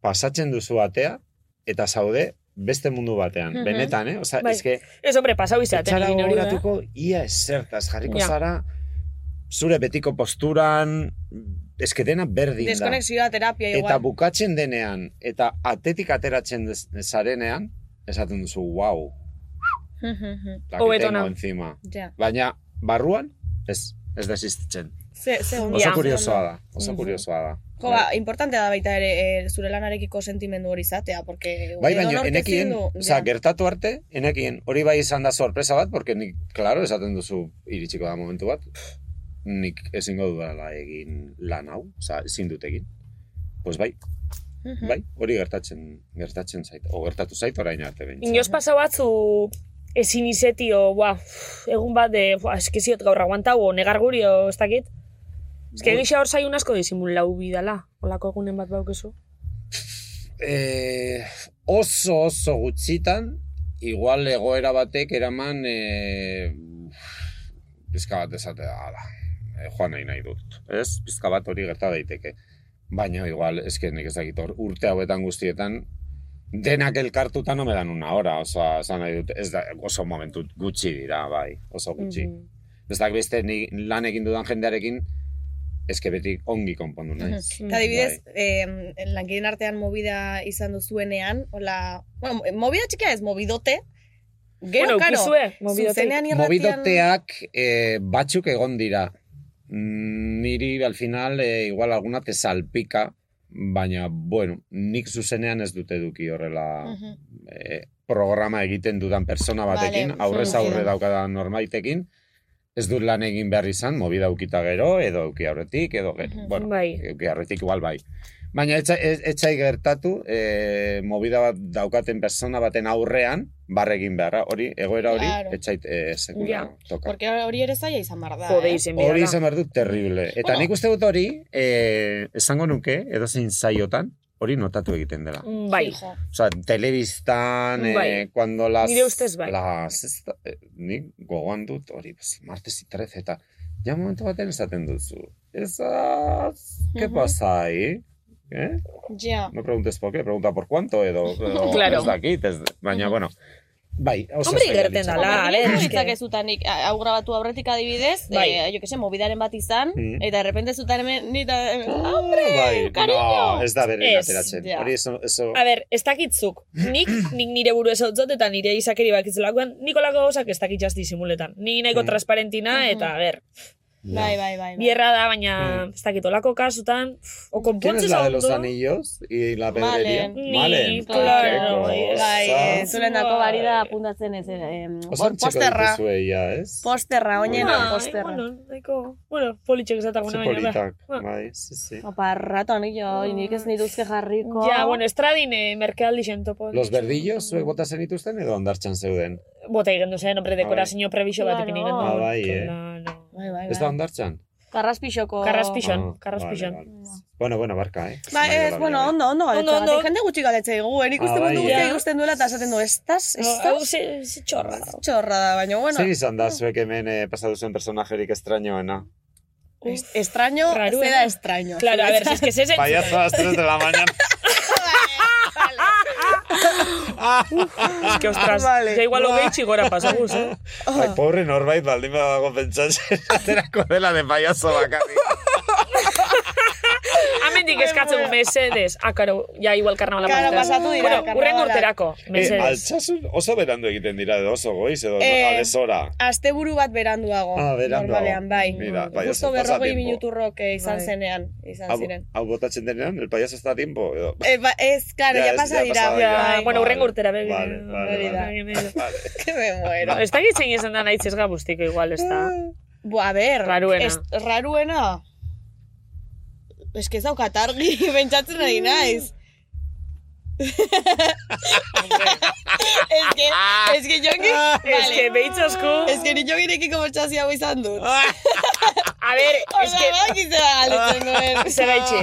pasatzen duzu atea, eta zaude beste mundu batean. Mhm. Benetan, eh? Osa, Bai. eske, Ez, hombre, pasau izaten etxara egin hori eh? da. gogoratuko ia esertaz, jarriko Ja. zara, zure betiko posturan, eske dena berdin da. Deskonexioa, terapia, igual. Eta bukatzen denean, eta atetik ateratzen des- zarenean, esaten duzu, wow, Mhm, mhm. la que Hobeto tengo nau. encima. Ja. Baina, barruan, ez. ez desistitzen. Ze, ze ondo. Oso kuriosoa da, oso Mhm. kuriosoa da. Jo, ba, importante da baita ere eh, zure lanarekiko sentimendu hori izatea, porque... Bai, edonork baina ezin enekien, du- oza, Ja. gertatu arte, enekien, hori bai izan da sorpresa bat, porque nik, klaro, esaten duzu iritsiko da momentu bat, pff, nik ezingo dudala egin lan hau, oza, ezin dut egin. Pues bai, Mhm. bai, hori gertatzen, gertatzen zait, o gertatu zait orain arte behin. Inoz pasa batzu ezin izetio, ba, uf, egun bat de, ba, eskiziot gaur aguantau, o negar guri, o ez dakit. Ez que egisa hor zaiun asko disimulau bidala, olako egunen bat baukezu. Eh, oso oso gutxitan, igual egoera batek eraman, eh, pizka bat esatea, ala, eh, joan nahi nahi dut. Ez, pizka bat hori gerta daiteke. Baina igual, eske nik ez dakit hor, urte hauetan guztietan, denak elkartuta no me dan una hora, oza, esan nahi dut, ez da, oso momentu gutxi dira, bai, oso gutxi. Mhm. Ez da, beste ni lan egin dudan jendearekin, eske beti ongi konpondu naiz. Eta adibidez, eh, lankideen artean movida izan duzuenean, hola, bueno, eh, movida txikia ez, mobidote, gero, Bueno, karo, ukizue, mobidote. zuzenean irratian... Mobidoteak eh, batzuk egon dira. Mm, Niri, al final, eh, igual alguna te salpica, baina, bueno, nik zuzenean ez dute eduki horrela Mhm. eh, programa egiten dudan persona batekin, Vale, aurrez mhm. aurre daukadan normaitekin, ez dut lan egin behar izan, mobida ukita gero, edo euki aurretik, edo gero, bueno, bai. euki aurretik igual bai. Baina etxai, etxai gertatu, eh, mobida bat daukaten persona baten aurrean, barregin beharra, hori, egoera hori, Claro. etxai, eh, sekula Ja. toka. Porque hori ere zaila izan behar da, eh? Hori izan behar dut terrible. Eta Bueno. nik uste dut hori, eh, esango nuke, edo zein zaiotan, hori notatu egiten dela. eh. Bai. O sea, telebistan, eh, Bai. cuando las... Nire ustez bai. Las, ez da- eh, nik gogoan dut hori, pues, martes y 13 eta... Ja momentu baten esaten duzu. Esas... ¿Qué Ujú. pasa ahí? Eh? Ja. No preguntes por qué, pregunta por cuánto eh, edo... edo Claro. Ez dakit, ez... Baina, bueno... Bai, oso Hombre, zaila gerten litzake. dala, ale, Bai, eske. ditzakezutan nik, hau grabatu aurretik adibidez, Bai. eh, jo que se, mobidaren bat izan, Mhm. eta errepente zutan hemen, eh, nita, hemen, hombre, Bai, cariño! Bai, no, ez da bere Ez, ateratzen. ja. Hori eso, eso... A ber, ez dakitzuk. Nik, nik nire buru ez hau eta nire izakeri bakitzelakoan, nikolako gauzak ez dakitxaz disimuletan. Ni nahiko Mm. transparentina eta, a ber, Bai, bai, bai. bierra da, baina ez dakit olako kasutan, pf, o Mm. ¿Quién es konpontzez la de los ondo. anillos y la pedrería? Malen. Ni, qué claro, cosa. Bai, eh, zulen dako bari da apuntatzen ez, eh, Oso txeko posterra, dituzu eia, ez? posterra, oinena, Bai, posterra. Bueno, nahiko, bueno, politxek ez datak Ze baina. politak, Ah. ba. bai, sí, sí. Opa, rato anillo, hori nik ez niruzke jarriko. Ja, bueno, estradin eh, merkealdi zen topo. Mm. Los verdillos, zuek bota zenituzten edo ondartxan zeuden? Bota igendu zen, hombre, dekorazio prebixo bat Claro. ipini Ah, gendu. bai, eh? Bai, bai, Ez da ondartxan? Karraspixoko... Karraspixon, Ah, karraspixon. vale, Bueno, bueno, barka, eh? Ba, ez, bueno, ondo, ondo Ondo, gaitza. ondo. Jende gutxi galetzea igu, erik uste Ah, bai, mundu guztia ja. ikusten duela eta esaten du, estas, No, estas... hau ze- ze txorra da. Txorra da, baina, bueno, Zer izan da zuek hemen eh, pasatu zuen personajerik estrañoena? est- estraño, Rarua. zera estraño. ¿eh? Claro, a ver, si es que se Payaso a las 3 de la mañana. Es que, ostras, Vale. ya igual lo gehi txigora pasaguz, eh? Ai, Bai, pobre norbait, baldin badago pentsatzen aterako dela de payaso bakarrik. Hamendik eskatzen mesedes. Ah, karo, ya igual karnavala Claro, pasataz. pasatu dira, Bueno, urrengo karnavalak. urterako, Eh, mesedes. altsasun oso berandu egiten dira, edo oso goiz, edo Eh, eh, adesora. Asteburu bat beranduago. Ah, beranduago. Normalean, bai. Mira, bai, Justo oso berrogei pasatiempo. minuturrok eh, izan Bai. zenean, izan Hau, ziren. hau botatzen denean, el payaso está a tiempo, edo... Eh, ba, ez, claro, Ya, ya, ez, pasa ya dira. pasa dira. Ja, bai. Ah, bueno, Vale, urrengo eh, urtera, bebe. vale, vale, hori da. Vale. Que me Bai. muero. Ez dakit zein izan da naitzez gabuztiko igual, ez da. Bu, a ber, Raruena. Ez, raruena. Ez que ez daukat argi, bentsatzen ari naiz. Ez que, ez que jongi... Ez Vale. Ah, que behitzosku... Ez que ni jongirekiko bortxazio hau izan dut. A ver, es Osa, que... baki zera galetzen duen. Zeraitxe.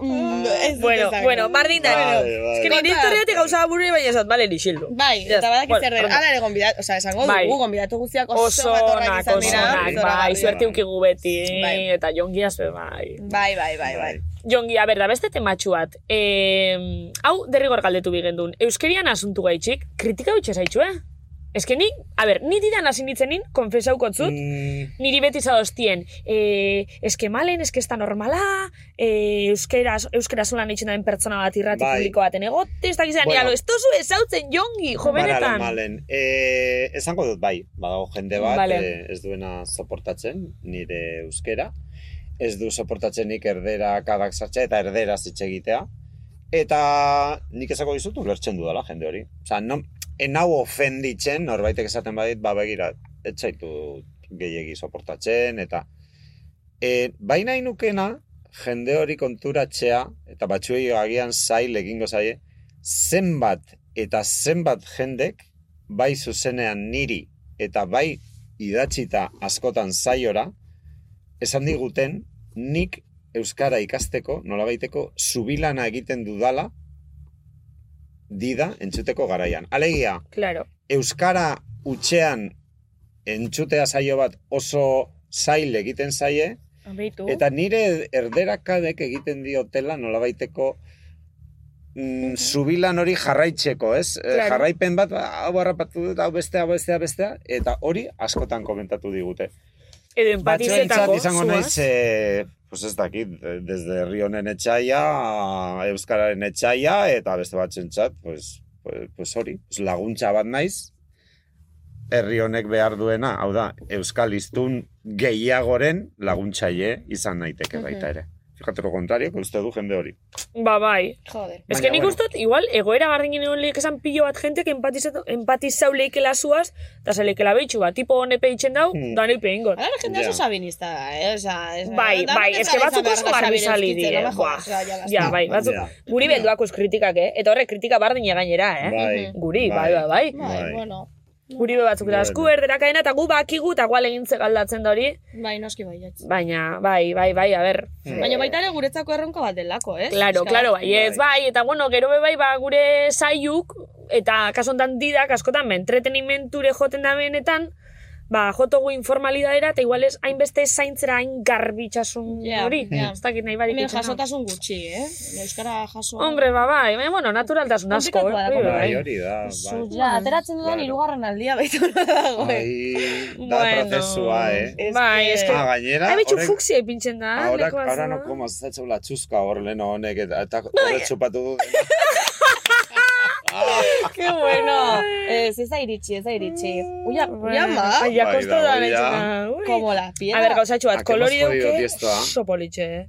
Mm, ez dut Bueno, esango. bueno, bardin da. Vale, Es que vale. nire historiate gauza burri baina esat, bale, nixildu. Bai, Ya eta está. badaki Bueno, zer den. ondo. Hala ere gonbidatu, osea, esango Bai. dugu, gonbidatu guztiak oso Oso batorrak onak, izan oso dira. onak, bai, zoragarriak. suerte ukigu beti, Bai. eta jongiaz, be, bai. Bai, bai, bai, bai. Jongi, a ber, da beste tematxu bat. Eh, hau, derrigor galdetu bigendun. Euskerian asuntu gaitxik, kritika hutxe zaitxu, eh? Ez que nik, a ber, ni didan hasi nintzenin, konfesaukot zut, Mm. niri beti zadoztien, e, eske malen, eske ez da normala, e, euskera, euskera solan eitzen den pertsona bat irrati Bai. publiko baten egote, ez da gizan, Bueno. bueno. ez tozu ezautzen jongi, jo Baralo benetan. malen. Eh, esango dut bai, badago jende bat Vale. eh, ez duena soportatzen, nire euskera. Ez du soportatzenik erdera kabak sartzea eta erdera hitz egitea. Eta nik esako dizut ulertzen dudala jende hori. Osea, no, enau ofenditzen norbaitek esaten badit, ba begira, etxaitu gehiegi soportatzen, eta... E, baina inukena, jende hori konturatzea, eta batzuei agian zail egingo zaie, zenbat eta zenbat jendek, bai zuzenean niri, eta bai idatzita askotan zaiora, esan diguten, nik euskara ikasteko, nolabaiteko, zubilana egiten dudala, dida entzuteko garaian. Alegia, Claro. euskara utxean entzutea saio bat oso zail egiten zaie, Ambitu. Eta nire erderakadek egiten diotela nolabaiteko mm, zubilan hori jarraitzeko, ez? Eh, Claro. Jarraipen bat, hau harrapatu dut, hau bestea, hau bestea, bestea, eta hori askotan komentatu digute. Edo Batzuentzat empatizetako, Ba, izango naiz, eh, pues ez dakit, eh, desde herri honen etxaia, a Euskararen etxaia, eta beste batzuentzat, pues, pues, pues hori, pues laguntza bat naiz, herri honek behar duena, hau da, Euskal Iztun gehiagoren laguntzaile izan naiteke baita ere. Fijate lo contrario, que uste du jende hori. Ba, bai. Joder. Ez Baina, que nik bueno. ustot, igual, egoera gardin ginen holik esan pilo bat jentek empatizatu- empatizau leikela zuaz, eta zaleikela behitxu bat, tipo honepe itxen dau, Hmm. da honepe ingot. Ahora la gente Ya. oso sabinista da, eh? Osa, es, Bai, bai, es que batzuk oso garbi sali dire. eh. buah. Ja, bai, batzuk. Ja. Guri belduak uz kritikak, eh? Eta horrek kritika bardina gainera, eh? Bai, Guri, bai, bai, bai. Bai, Bai. bueno. Guri be batzuk da Bueno. esku erderakaena eta gu bakigu eta gual egintze galdatzen da hori, Bai, noski bai, jatz. baina bai, bai, bai, a ber. Mm. Baina baita ere guretzako erronka bat delako, eh? Claro, Pixka claro, bat. bai, ez, bai, eta bueno, gero be bai, ba, gure saiuk, eta kaso honetan didak, askotan, ba, entretenimenture joten da benetan, ba, jotogu informalidadera, eta igual ez, hainbeste zaintzera hain garbitxasun Ja, hori, ja. ez dakit nahi barik Hemen itxena. jasotasun gutxi, eh? Euskara jaso... Hombre, ba, bai, baina, bueno, naturaltasun asko, Komplikatua da, eh? komplikatua. bai, Bai, bai. hori da, bai. Ja, ateratzen dudan Claro. hirugarren aldia baita hona dago, eh? Ai, Bai, da prozesua, eh? Bai, eske- Ah, gainera, Ai, bitxu horrek- fuksia ipintzen da, Ahora, Ah, leku eh? ahora azala. no como, se ha hecho la chusca hor leno honek, eta eta horre txupatu du. Qué bueno. Ez, ez da iritsi, ez da iritsi. Uia, uia ma, Ai, ja, Bai, kosto da, da, hori da. nahitzen da. Ui. como la piedra. A ber, gauzatxo bat, Ah, que kolori hemos jodido deuke, tiesto, ah. oso politxe, eh?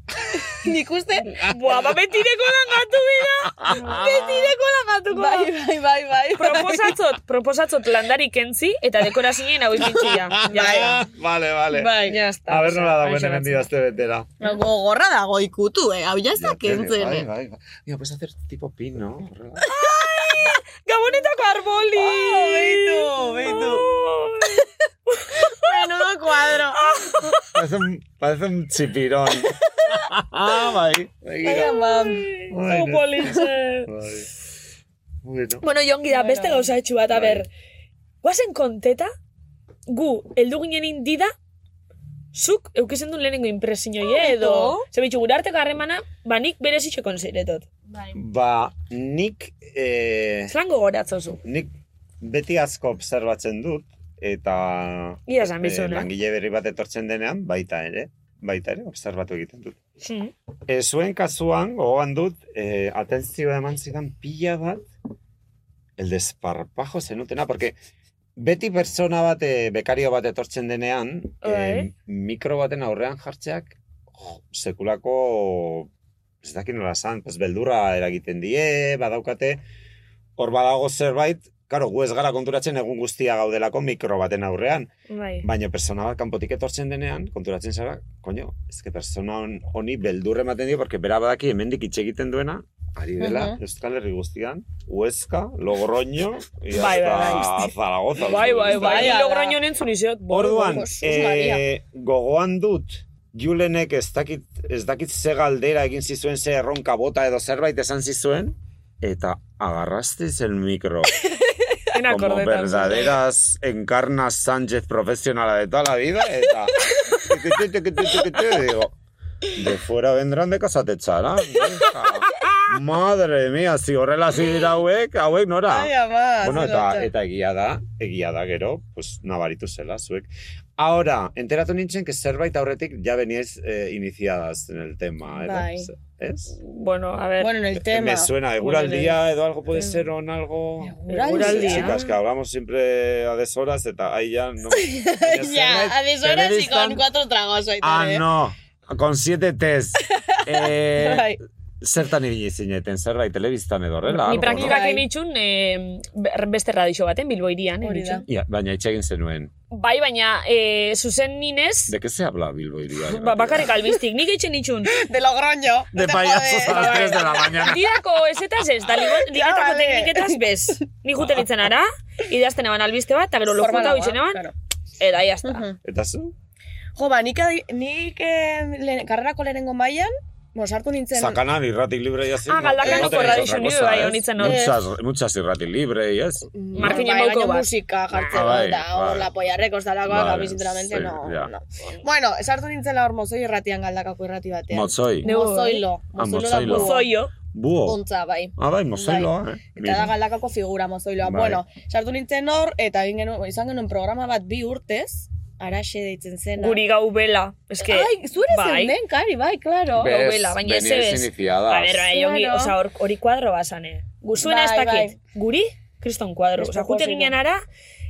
Nik uste, Buah, ba, betireko lan gatu bida! Betireko lan gatuko da! bai, bai, bai, bai. Proposatzot, proposatzot landari kentzi eta dekora zinen hau ikintxia. Ja, Bai. ja. Vale, vale. Bai, ja está. A ver nola dagoen Haixe hemen batzen. azte betera. Gogorra dago ikutu, eh? Hau jaz Ya, que- dakentzen, Bai, eh? bai, bai. Mira, puedes hacer tipo pin, ¿no? Horrela. Gabonetako Oh, arboli! Oh, beitu, beitu. Menudo kuadro. Parece un, parece un chipirón. ah, bai. Baina, mam. Oso politxe. Bai. Bueno. Bueno, jongi da, beste gauzatxo bai. bat, a ber. Guazen konteta, gu, eldu ginen indida, zuk eukizen duen lehenengo impresiñoi edo. Zebitxu, gure arteko harremana, ba nik bere zitxo konziretot. Bai. Ba, nik, eh, Zlango goratzozu. nik beti asko observatzen dut, eta Ia esan eh, bizuna. langile berri bat etortzen denean, baita ere, baita ere, observatu egiten dut. Mm, Mhm. E, zuen kasuan, gogoan dut, e, atentzioa eman zidan pila bat, el desparpajo zenutena, porque beti persona bat, eh, bekario bat etortzen denean, Bai. eh, mikro baten aurrean jartzeak, jo, sekulako, ez dakit nola esan, pues, beldurra eragiten die, badaukate, hor badago zerbait, Karo, gu ez gara konturatzen egun guztia gaudelako mikro baten aurrean. Bai. Baina persona bat kanpotik etortzen denean, konturatzen zara, koño, ez que persona hon- honi beldur ematen dio, porque bera badaki hemendik hitz egiten duena, ari dela Mhm. Euskal Herri guztian, Huesca, Logroño, y hasta Bai, bai, bai. Zaragoza. Bai, bai, bai, Bai, ni ala. logroño nentzun izot. bo. Orduan, Jesús eh, María. gogoan dut, Julenek ez dakit, ez dakit ze galdera egin zizuen, ze erronka bota edo zerbait esan zizuen, eta agarrasteis el mikro. Ena como kordetan. verdaderas encarnas Sánchez profesional de toda la vida. Eta, Digo, de fuera vendrán, de casa te echarán. hija. Madre mia, zi horrela hasi dira hauek, hauek nora. Ai, ama, bueno, ze eta, lotxa. eta egia da, egia da gero, pues, nabaritu zela zuek. Ahora, enteratu nintzen, que zerbait aurretik ja veníais eh, iniciadas en el tema. edo, Bai. Ez? Bueno, a ver. Bueno, en el tema. Me suena, eguraldia edo algo puede ser on algo... Eguraldia. Chicas, que hablamos siempre a deshoras eta ahí ya no... Ya, a deshoras y con cuatro tragos hoy Ah, también. no, con siete test. Eh, Bai. zertan ibili zineten, zerbait telebistan edo horrela. Ni algo, praktikak Bai. enitxun eh, ber- beste radixo baten, Bilbo irian. Hori da. enitxun. Ja, baina hitz egin zenuen. Bai, baina eh, zuzen ninez, De qué se habla Bilbo iría? ba, bakarrik albiztik, nik eitzen itxun. De Logroño. no De te payasos a jodes. las 3 de la mañana. Dirako ezetaz ez, da ligo- Ja, ligetako vale. tekniketaz bez. Ni juten itzen ara, idazten eban albiste bat, eta gero lokuta Formalagoa, bitxen eban, claro. eta jazta. eh? Ujú. Eta zu? Jo, ba, nik, adi- nik eh, lehen- karrerako lehenengo mailan, bueno, sartu nintzen... Sakanan irratik libre y así. Ah, Galdakao tenéis otra Radio Unido, cosa, bai, ¿eh? honitzen hor. Muchas, muchas irratik libre y es. Martinen bai, bauko gaino bat. musika jartzen Ah, bai, eta hor bai. la polla records dalakoak, Vale, a mí, sinceramente, sí, no, ya. no. Bueno, sartu nintzela hor mozoi irratian galdakako irrati batean. Mozoi. Ne- Mozoilo. Ah, Mozoilo da mozoilo. buru- Zoio, Buo. Puntza, bai. Ah, bai, mozoiloa, eh? Eta da galdakako figura mozoiloa. Bai. Bueno, sartu nintzen hor, eta egin genuen, izan genuen programa bat bi urtez, araxe deitzen zena. guri gau bela. Eske, Ai, zu ere bai. zen den, kari, bai, claro. Be- novela, baina ez ez. iniciadas. A ber, bai, ongi, Claro. osa, hor- hori kuadro basane. Guzuena ez Bai, dakit, guri, kriston kuadro. Ez Osa, juten proposito. ginen ara,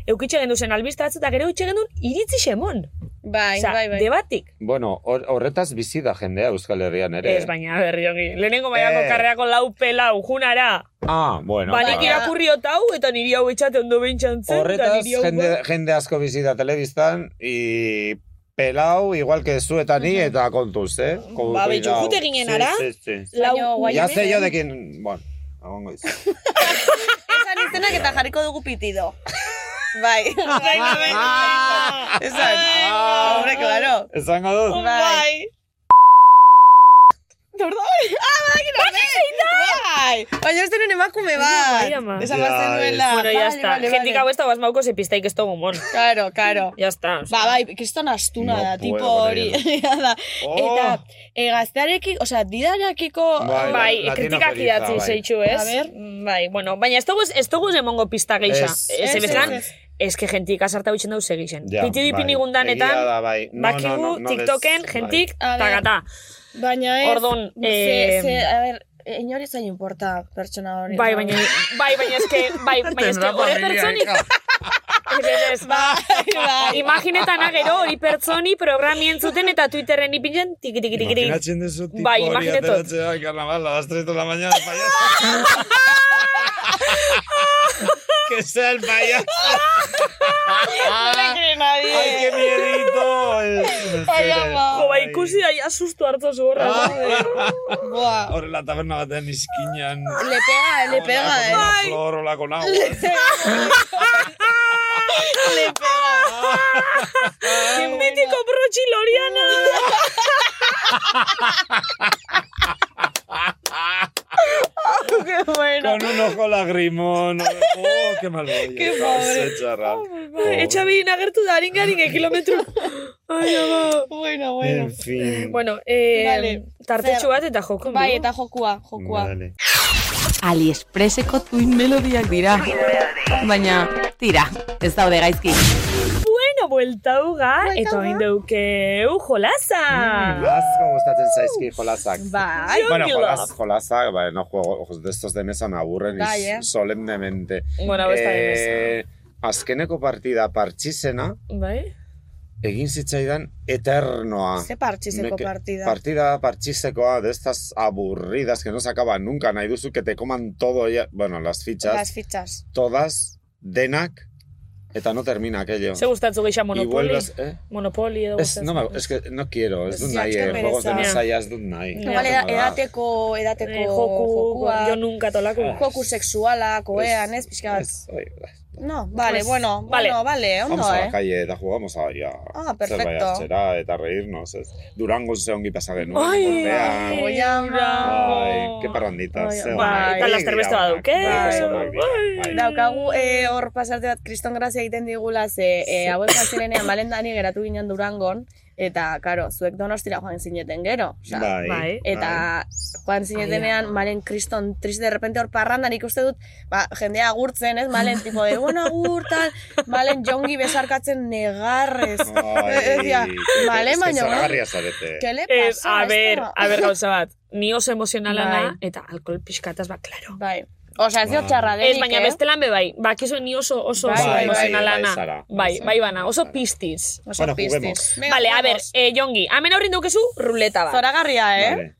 eukitxe gendu zen albiste batzu, eta gero eukitxe gendun iritzi xemon. Bai, Osa, bai, bai. debatik. Bueno, hor- horretaz bizi da jendea Euskal Herrian ere. Ez, baina, berri ongi. Lehenengo mailako Eh. karreako lau pelau, junara. Ah, bueno. Banik ba. irakurri otau, eta niri hau etxate ondo bintxan zen, eta Horretaz, niri hau... jende, jende asko bizita telebistan, y pelau, igual que zu eta ni, eta kontuz, eh? Con Ba, betxo, cuidado. jute ginen ara? Sí, sí, sí. Lau, Baina guai- Ya sé yo de quién... Bueno, agongo izan. Esan izenak eta jarriko dugu pitido. Bai. Venga, venga, venga. Esan. Ah. Hombre, claro. Esango dut? Bai. Dordo. Ah, bai, gero. Bai. Baina ez denun emakume Bai, bat. ama. Esan bat Bai. zenuela. Bueno, ya Vale, está. vale, Gentik vale. hau ez da basmauko zepistaik ez dugu mon. Claro, claro. Ya está. Ba, bai, kriston astuna No da, tipo puedo con hori. da. Oh. Eta, e, gaztearekiko, osea, didarekiko... Bai, Bai, Latino kritikak feliza, idatzi bai. zeitxu, ez? A ber. Bai, bueno, baina ez dugu ez dugu emongo pista geixa. Ez, Ez, ez, ebezan, ez, ez que gentik azarta bitxen dauz egixen. Ja, Piti bai. dipin Egia igundanetan, da, bai. No, bakigu, no, no, no, TikToken, des- gentik, bai. A ber. tagata. Baina ez... Ordun, Ze, eh, ze, a ber, inori zain importa pertsona hori. Bai, baina, bai, baina eske, bai, baina eske, Tendrá hori familia, pertsonik... Berez, Bai, bai. Imaginetan agero hori pertsoni programi entzuten eta Twitterren ipintzen tiki tiki tiki tiki. Imaginatzen duzu tipo Bai, hori imaginatot. ateratzea al carnaval a las 3 de la mañana, payaso. que sea el payaso. Bai, No le cree nadie. Ay, qué miedito. Es- Ay, ama. Jo, ba, ikusi da, ja sustu hartu zuhorra. Buah. Horrela taberna batean izkinan. Le pega, eh, le pega, Hola con una eh. flor, hola con agua. ¿eh? Le pega. Mitiko brotxi loriana. Qué bueno. Con un ojo lagrimón. Oh, qué mal rollo. Qué Ese pobre. charra. Etxabin agertu da, harin garin, kilometro. Ai, ama. Bueno, En bueno. fin. Bueno, eh, Vale. tartetxo bat eta joko. Bai, eta jokua, jokua. Vale. Aliexpreseko tuin melodiak dira. Baina, tira, ez daude gaizki. Bueno, buelta uga, eta oin duke jolaza. Asko gustatzen zaizki jolasak. Mm. Bai. Ah. Bueno, Jongi jolas, love. jolasak, bai, no juego, ojos de estos de mesa me aburren Bai, y eh. solemnemente. Bueno, hau ez da Eh, azkeneko partida partxizena Bai? egin zitzaidan eternoa. Ze partxizeko Me que- partida. Partida parchisecoa de estas aburridas que no se acaban nunca. Nahi duzu que te coman todo, ya, bueno, las fichas, Las fichas. todas, denak, eta no termina aquello. Ze gustatzu gehiago y Monopoli? vuelves, eh, Monopoli edo es, no, gustatzu. me- es que no quiero, es de un Ya, es que pereza. juegos de Ya. mesa ya es de un nahi. Ya. Igual eda, edateko, edateko Eh, joku, jokua. jo nunca tolako. Joku sexuala, koean, ez, pixka bat. Es- oye, No, vale, Pues, bueno, vale. bueno, vale, ondo, Vamos a la eh. calle eta jugamos a, a Ah, zerbait perfecto. hartzera eta eh, reírnos. Ez. Durango ze ongi pasa genuen. Ai, urtean. ai, Ay, qué parrandita. Ai, ze bai, onak. eta lasterbeste badauke. Bai, oso onak dira, bai. Daukagu eh, hor pasarte bat kriston grazia egiten digula, ze eh, hauek bazirenean balendani geratu ginen durangon, Eta, karo, zuek donostira joan zineten gero. osea, Bai, Bai. Eta joan zinetenean, malen kriston triste de repente hor parrandan ikuste dut, ba, jendea agurtzen, ez, malen tipo de, bueno, agur, tal, malen jongi besarkatzen negarrez. Ez dira, malen baino, Zaragarria zarete. ¿Qué le Ez, pasa? Eh, a ber, esto? a ber gauza bat. Ni oso emozionala Bai. na, eta alkohol pixkataz, ba, klaro. Bai. Osa, ez diot Ba. txarra denik, Ez, baina eh? bestelan be bai. Ba, kizu ni oso oso Bai, oso bai, emozionala bai, na. Sara. Bai, bai bana, oso piztiz. Oso Bueno, piztiz. juguemos. Venga, Vale, a ber, juguemos. eh, Jongi, hemen aurrin daukezu ruleta bat. Zoragarria, eh? Vale.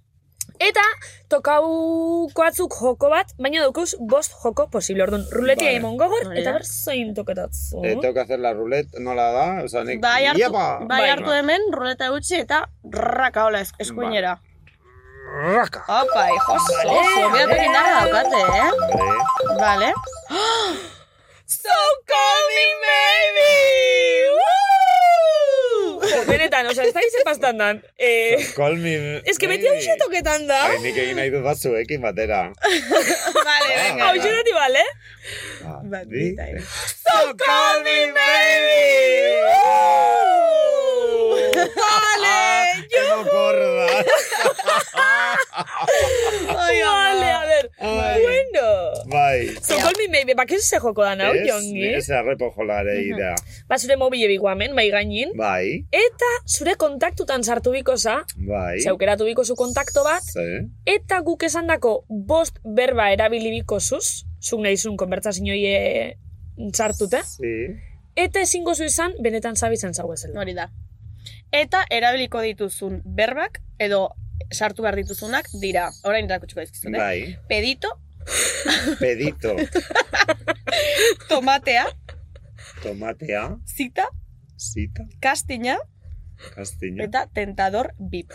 Eta tokauko batzuk joko bat, baina daukuz bost joko posible. Orduan, ruletia Vale. emon gogor, Hori da. eta ber zein toketatzu. Oh. Eh, tengo que hacer la ruleta, nola da? O sea, nik... Bai hartu, Iepa! bai Bai. hartu hemen, ruleta utzi eta rraka hola es- eskuinera. Raka. Opa, hijos, oso, mira que indarra daukate, eh? Vale. Vale. So call me maybe! Jo, benetan, osea, ez da izen pastan dan. Eh, Call me... ez que beti baby. hau toketan da. Ai, nik egin nahi dut bat zuekin batera. vale, venga. Ba, Hau xerati bale? Bi- So call me maybe! ¡Uh! ¡Uh! Vale! Tengo corda. Vale, a ver. Ai. Bueno. Bai. So call me maybe, bak ez ze joko da nau, Ez, Jongi? Ez arrepo jolare ira. Ba, zure mobile biguamen, bai gainin. Bai, Eta zure kontaktutan sartu biko za, bai. zeukeratu biko zu kontakto bat, Ze. eta guk esandako bost berba erabili biko zuz, zuk nahi zuen konbertsazioi e, sartuta, Sí. eta ezingo zu izan, benetan zabi izan zau bezala. bai. Hori da. Eta erabiliko dituzun berbak edo sartu behar dituzunak dira. Orain erakutsiko dizkizut, eh? Bai. Pedito, Pedito. tomatea, Tomatea. zita, Zita. kastina Bai. Castiña. eta tentador bip.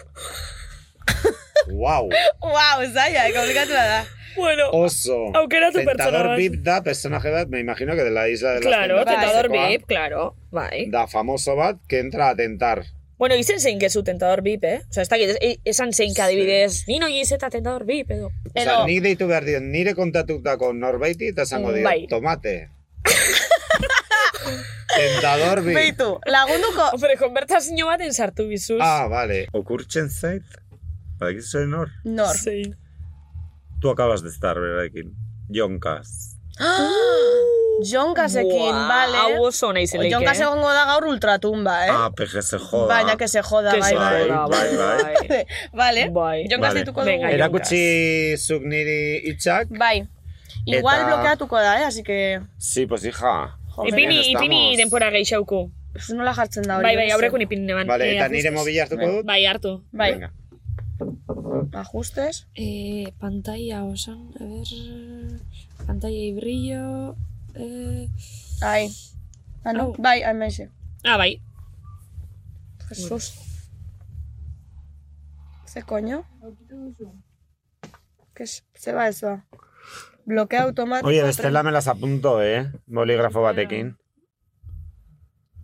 Wow. Wow, zaila, eh, komplikatua da. Bueno, Oso. Aukeratu pertsona Tentador bat. VIP da personaje bat, me imagino que de la isla de las claro, tentadas, tentador zekoa. bip, claro, bai. Da famoso bat que entra a tentar. Bueno, izen zein gezu tentador bip, eh? Osa, ez dakit, e- esan zein kadibidez, nino giz eta tentador bip, edo. Edo... Osa, nik deitu behar diot, nire kontatutako norbaiti eta Mm, esango diot, Bai. tomate. Tentador bi. Beitu, lagunduko, Hombre, konbertsazio baten sartu bizuz. Ah, vale. Okurtzen zait, badakizu nor? nor. Zein. Tú acabas de estar, berarekin. Jonkaz. Eh? Jonkasekin, vale. Hau oso nahi eh? O, zeleik, Jonkas egongo da gaur ultratumba, eh? peje se Baina, que se joda, Ah, Que bai, se bai. joda, bai, bai. Vale, Bai. Jonkas Vale. deituko Venga, dugu. jo. Erakutsi zuk niri itxak? Bai. Igual Eta- blokeatuko da, eh? Así que... Sí, pues hija. Joder, Ipini, Bien, ipini estamos. denpora geixauku. ez nola jartzen da hori. Bai, bai, ez? aurrekun ipini neban. Vale, Eh, eta nire ajustes. mobila hartuko dut? Bai, hartu. Bai, Venga. ajustes. Eh, pantalla, osan, a ver... Pantalla y brillo... Eh, Ai. Ah, no? Au. Bai, hain maize. Ah, bai. Jesus. Ze koño? Que es- ze ba ez ba. Blokea automatiko. Oye, bestela me las apunto, eh? Bolígrafo batekin.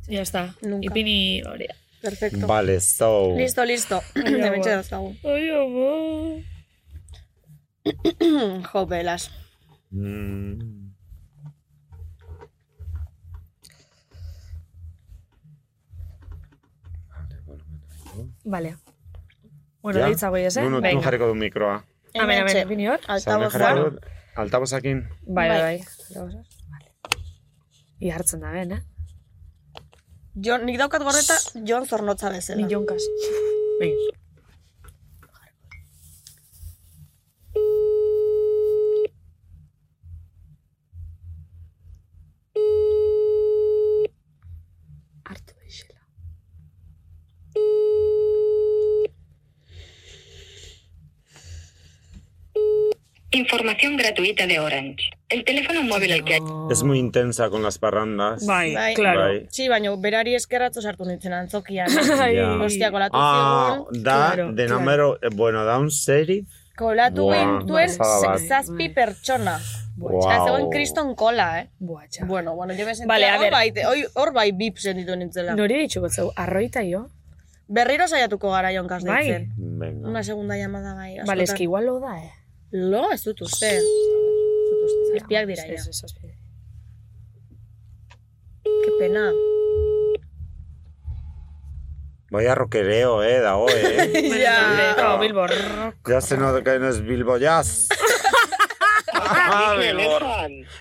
Ya está. Nunca. Ipini hori. Perfecto. Vale, so... Listo, listo. Hementxe dauzkagu. Ai, ama. Jo, belas. Mm. Vale. Bueno, Ja? deitza goiez, eh? Nuno, tu Venga. jarriko du mikroa. Hemen, hemen, Hementxe. ipini hor. Zalmen Altavoz jarriko da. dut. Altabosakin. Bai, Bai. bai, bai. Vale. I hartzen da ben, eh? Jon, nik daukat gorreta, Jon zornotza bezala. Ni jonkas. Venga. Hartu deixela. Información gratuita de Orange. El teléfono móvil al que Es muy intensa con las parrandas. Bai, Bai. claro. Bai. Sí, baina berari eskerratu sartu nintzen antzokian. Ai. Ja. Hostia, kolatu Ah, zigun. da, Claro, de claro. número... eh, Bueno, da un serie. Kolatu Buah, gintuen pasada bat. zazpi Bai. pertsona. Wow. Eta zegoen kriston kola, eh? Buah, txa. Bueno, bueno, jo me sentia Vale, a hor ver. bai, te- hoi- hor bai bip sentitu nintzela. Nori ditxuko zeu, arroita jo? Berriro saiatuko gara jonkas Bai. deitzen. Venga. Una segunda llamada bai. Bale, askotan. eski igual lo da, eh? Lo, ez dut uste. Ez dut uste. Zazpiak dira, Ez, ja. ez, zazpiak. Ke pena. Boia rokereo, eh, dago, eh. Ja, Ah. Bilbo. Ja se no que no es Bilbo Jazz. Ah, Bilbo.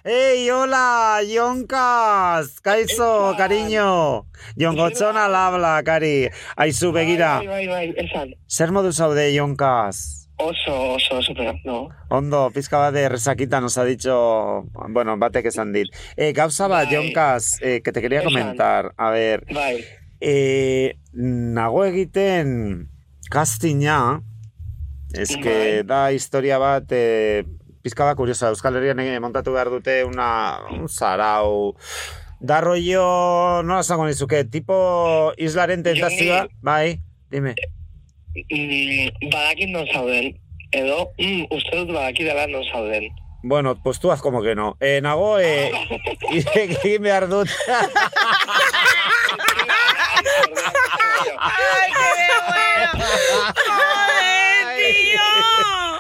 ¡Ey, hola! ¡Yoncas! ¡Caizo, cariño! Jongotzona al habla, cari. Aizu, begira. Bai, bai, bai, esan. Zer modu zaude, Yoncas? Oso, oso, oso, pero, no. Ondo, pizka bat de resaquita nos ha dicho... Bueno, batek esan dit. Eh, gauza bat, Yoncas, eh, que te quería Esan. comentar. A ver... Bai. Eh, nago egiten castinga, eske da historia bat eh, pizka bat kuriosa, Euskal Herrian eh, montatu behar dute una, un zarau, da rollo, nola esango nizuke, tipo islaren tentazioa, bai, dime. Mm, badakit non zauden. Edo, mm, uste dut badakit dela non zauden. Bueno, pues tú haz como que no. Eh, nago, eh, egin behar dut. ¡Ay, qué de bueno! ¡Joder, tío!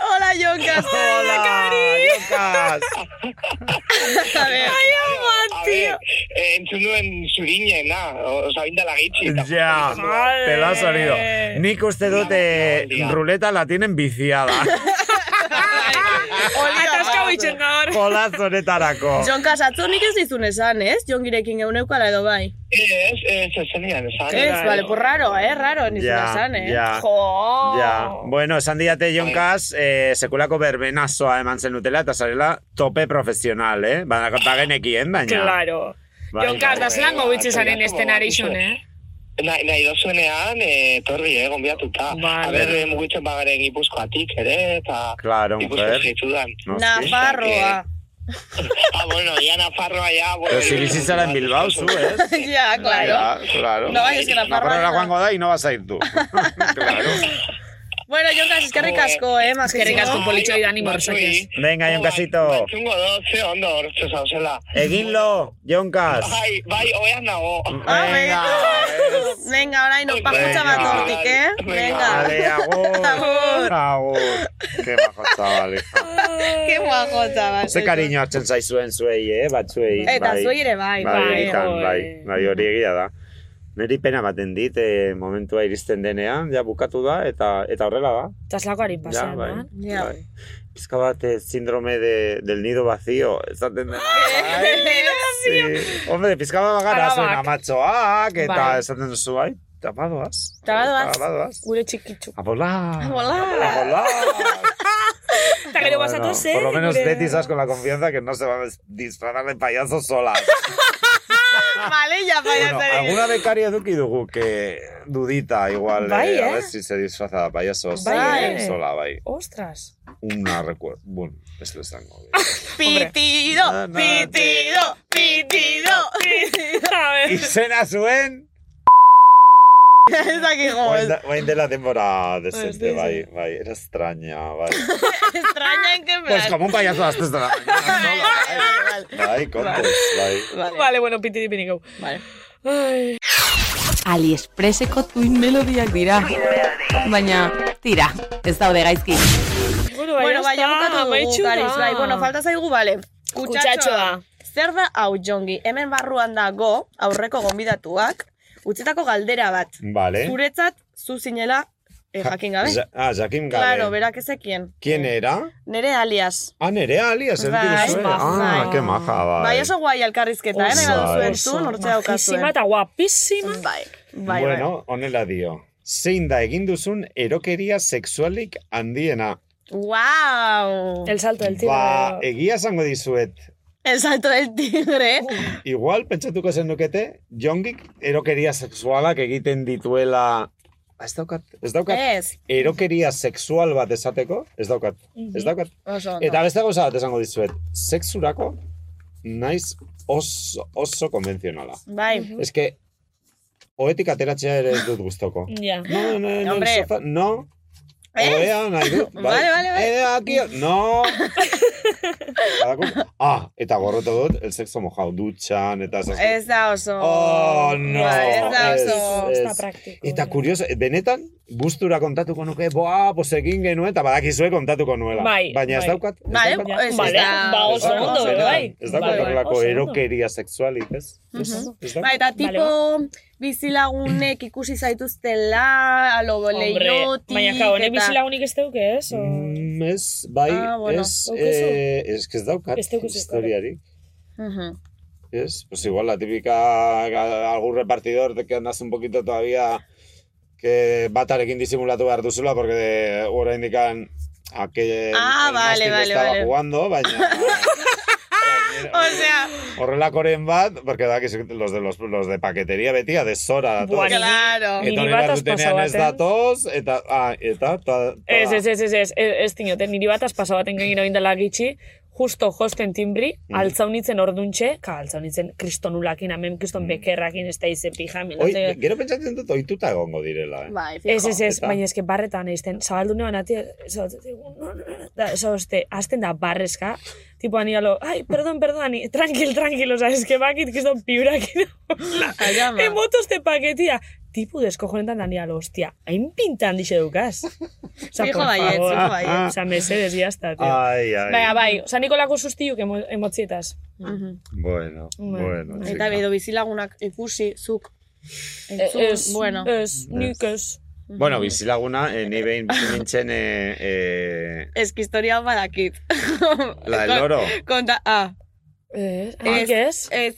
¡Hola, Yoncas! ¡Hola, Cari! ¡Yoncas! A ver. ¡Ay, amor, A ver, tío! eh, entzun nuen zurinena, oza, indala gitxi. Ya, te lo has sonido. Nik uste dut eh, ruleta la tienen viciada. Ataskau itxen gaur. Kolaz honetarako. Joncas, atzo nik ez dizun esan, ez? Jon girekin geuneukoala edo bai. Ez, ez, ez zenidan, esan. Ez, vale, pues raro, eh? Raro, nizun Ja, esan, eh? ja. Jo! Oh. Ja, bueno, esan diate Jonkaz, eh, sekulako berbenazoa eman zenutela eta zarela tope profesional, eh? Baina bagenekien, baina. Claro. Bai, Jonkaz, da bai. zelango bitzi zaren esten arixon, eh? Nahi, nahi dozuenean, eh, torri, eh, gonbiatuta. A ber, eh, mugitzen bagaren gipuzkoatik, ere, eta... Claro, mujer. Gipuzkoa Noski. Nafarroa. Ah, bueno, ya Nafarroa, ya, bueno. Pero si bizitzara en Bilbao, zu, eh? Ja, claro. Ja, claro. No vayas que Nafarroa Nafarroara no. joango da y no vas a ir tú. claro. Bueno, Joncas, eskerrik asko, eh? Eskerrik asko politxo idani morzakiz. Venga, Jonkasito. Zungo doze, ondo, hortxe zauzela. Eginlo, Jonkaz. Bai, bai, oean nago. Venga. Venga, orain, Venga. opakutza bat hortik, eh? Venga. Vale, agur. Agur. Agur. Qué bajo, chaval. hija. Qué guajo, chaval. Ze cariño hartzen zaizuen zuei, eh, batzuei. Eta bai. zuei ere bai, Bai, bai, egitan, joe. bai, bai, hori egia da. Neri pena baten dit, eh, momentua iristen denean, ja bukatu da, eta eta horrela da. Eta zelakoarin Ja, pasean, bai. man. Ja. bai. Pizka bat eh, síndrome de, del nido vacío, esaten dena. Sí. Hombre, pizka bat bagara zuen Alabak. amatxoak, eta Bai. esaten duzu, ai, tabadoaz. Tabadoaz. Tabadoaz. Gure txikitzu. A volar. A volar. A volar. Eta gero Bueno, basatoz, eh? Por lo menos gure- Betty, sabes, con la confianza que no se va a des- disfrazar de payaso sola. Vale, ya, bueno, payasarekin. alguna becaria Duki dugu que dudita igual, Bai, eh, a eh? ver si se disfraza de payaso Bai. eh, sola, bai. Ostras. Una recuerdo. Bueno, esto es tango. Pitido, pitido, pitido, pitido. A y ver. cena suen. Ez dakik jo, ez. Oain dela denbora desente, sí, bai, bai, era extraña, bai. Extraña en que pues plan. como un payaso a las tres de la mañana, sola, bai. Bai, kontes, bai. Vale, bueno, pitiri pinikau. Vale. Aliexpreseko tuin melodiak dira. Baina, tira, ez daude gaizki. Bueno, bai, ja bukatu dugu, amaitxu da. Kariz, bai. Bueno, falta zaigu, bale. Kutsatxoa. Zer da hau, Jongi? Hemen barruan dago, aurreko gonbidatuak, utzetako galdera bat. Vale. Zuretzat, zu zinela, eh, jakin gabe. Ja- ah, Jaquim Gabe. Claro, berak ezekien. ¿Quién era? Nere alias. Ah, nerea alias, el Bai, bai, Ah, bai. qué maja, bai. Bai, oso guai alkarrizketa, eh? Nahi baduzu entzun, hortxe daukazuen. Majísima eta guapísima. Bai, bai, bueno, honela dio. Zein da egin duzun erokeria sexualik handiena. bai. Wow! El, El salto del tigre. Ba, egia esango dizuet. salto del tigre. Igual, pentsatuko zenukete, jongik erokeria sexualak egiten dituela... Ah, Ez daukat, ez daukat. Ez. Erokeria sexual bat esateko, ez daukat, ez daukat. Oso, Mhm. ondo. Eta beste gauza bat esango dizuet, sexurako naiz oso, oso konvenzionala. Bai. Ez que, oetik ateratzea ere ez dut gustoko. Ja. No, no, no, Mm. Hombre. el sofá, no. ¿Eh? Oea, nahi dut. bai. Vale, vale, vale. Eh, aquí, no. Badako- ah, eta gorroto dut, el sexo mojado dutxan, eta esas- Ez da oso. Oh, no. Bai, ez da ez, oso. ez. Ez da praktiko, Eta eh. kurioso, benetan, gustura kontatuko nuke, boa, pues egin genuen, eta badakizue kontatuko nuela. Bai, Baina ez bai. daukat. ez Vale, daukat- ez Vale, da- ba, oso ez daukat ondo, benetan, bai. Ez daukat Bai, bai. horrelako Oso ondo. Bai, Bai, erokeria sexualik, ez? Ez- ez daukat. Ba, eta tipo, bizilagunek ikusi zaituztela, alo lehiotik, baina kao, ne eta- bizilagunik ez duke, ez? O... Mm, Ez, bai, Ah, bueno, ez, daukazu? eh, ez, ez daukat Ez daukazu, historiari. Ujú. Es, pues igual la típica, a- algún repartidor de que andas un poquito todavía que batarekin disimulatu behar duzula, porque de, oraindik an- aquel Ah, el vale, mástil vale, estaba vale. jugando, baina Osea, horrelakoren bat, porque dakizu los de, los, los de paquetería betia, de Sora datoz. Buah, niri- claro. niri Etorri bat behar azpasa dutenean ez baten. datoz, eta, ah, eta, ta, ta- Ez, ez, ez, ez, ez, ez, ez dinote, niri bat aspasa baten gainera bindala gitxi, justo josten timbri, Mm. altzaunitzen orduntxe, ka, altzaunitzen kristonulakin, hemen Mm. kriston bekerrakin, ez Ba, da ize pijamen. Oi, gero pentsatzen dut oituta egongo direla, eh? Bai, Ez, ez, ez, Eta- baina eske barretan eizten, zabaldu neban ati, zabaltzen, da, zabaltzen, azten da barrezka, tipo ani alo, ai, perdon, perdon, ani, tranquil, tranquil, oza, eske bakit, kiston piurakin, Ayama. emotozte paketia, tipo deskojonetan dani alo, hostia, hain pintan dixe dukaz. Oza, Fijo por baietz, favor. Ah. fijo eh. baietz. Oza, mesedes, jazta, tío. Ai, ai. Baina, bai, oza, Nikolako sustiuk emo, emotzietaz. Ujú. Bueno, bueno. Eta chica. edo bizilagunak ikusi, zuk. Eh, Entzun, Ez, Eh, bueno. ez, nik ez. Bueno, bizilaguna, eh, ni behin bizi nintzen eh, eh, Ez que historia badakit. la del loro. Konta, ah, Ez, Ez. nik ez. ez,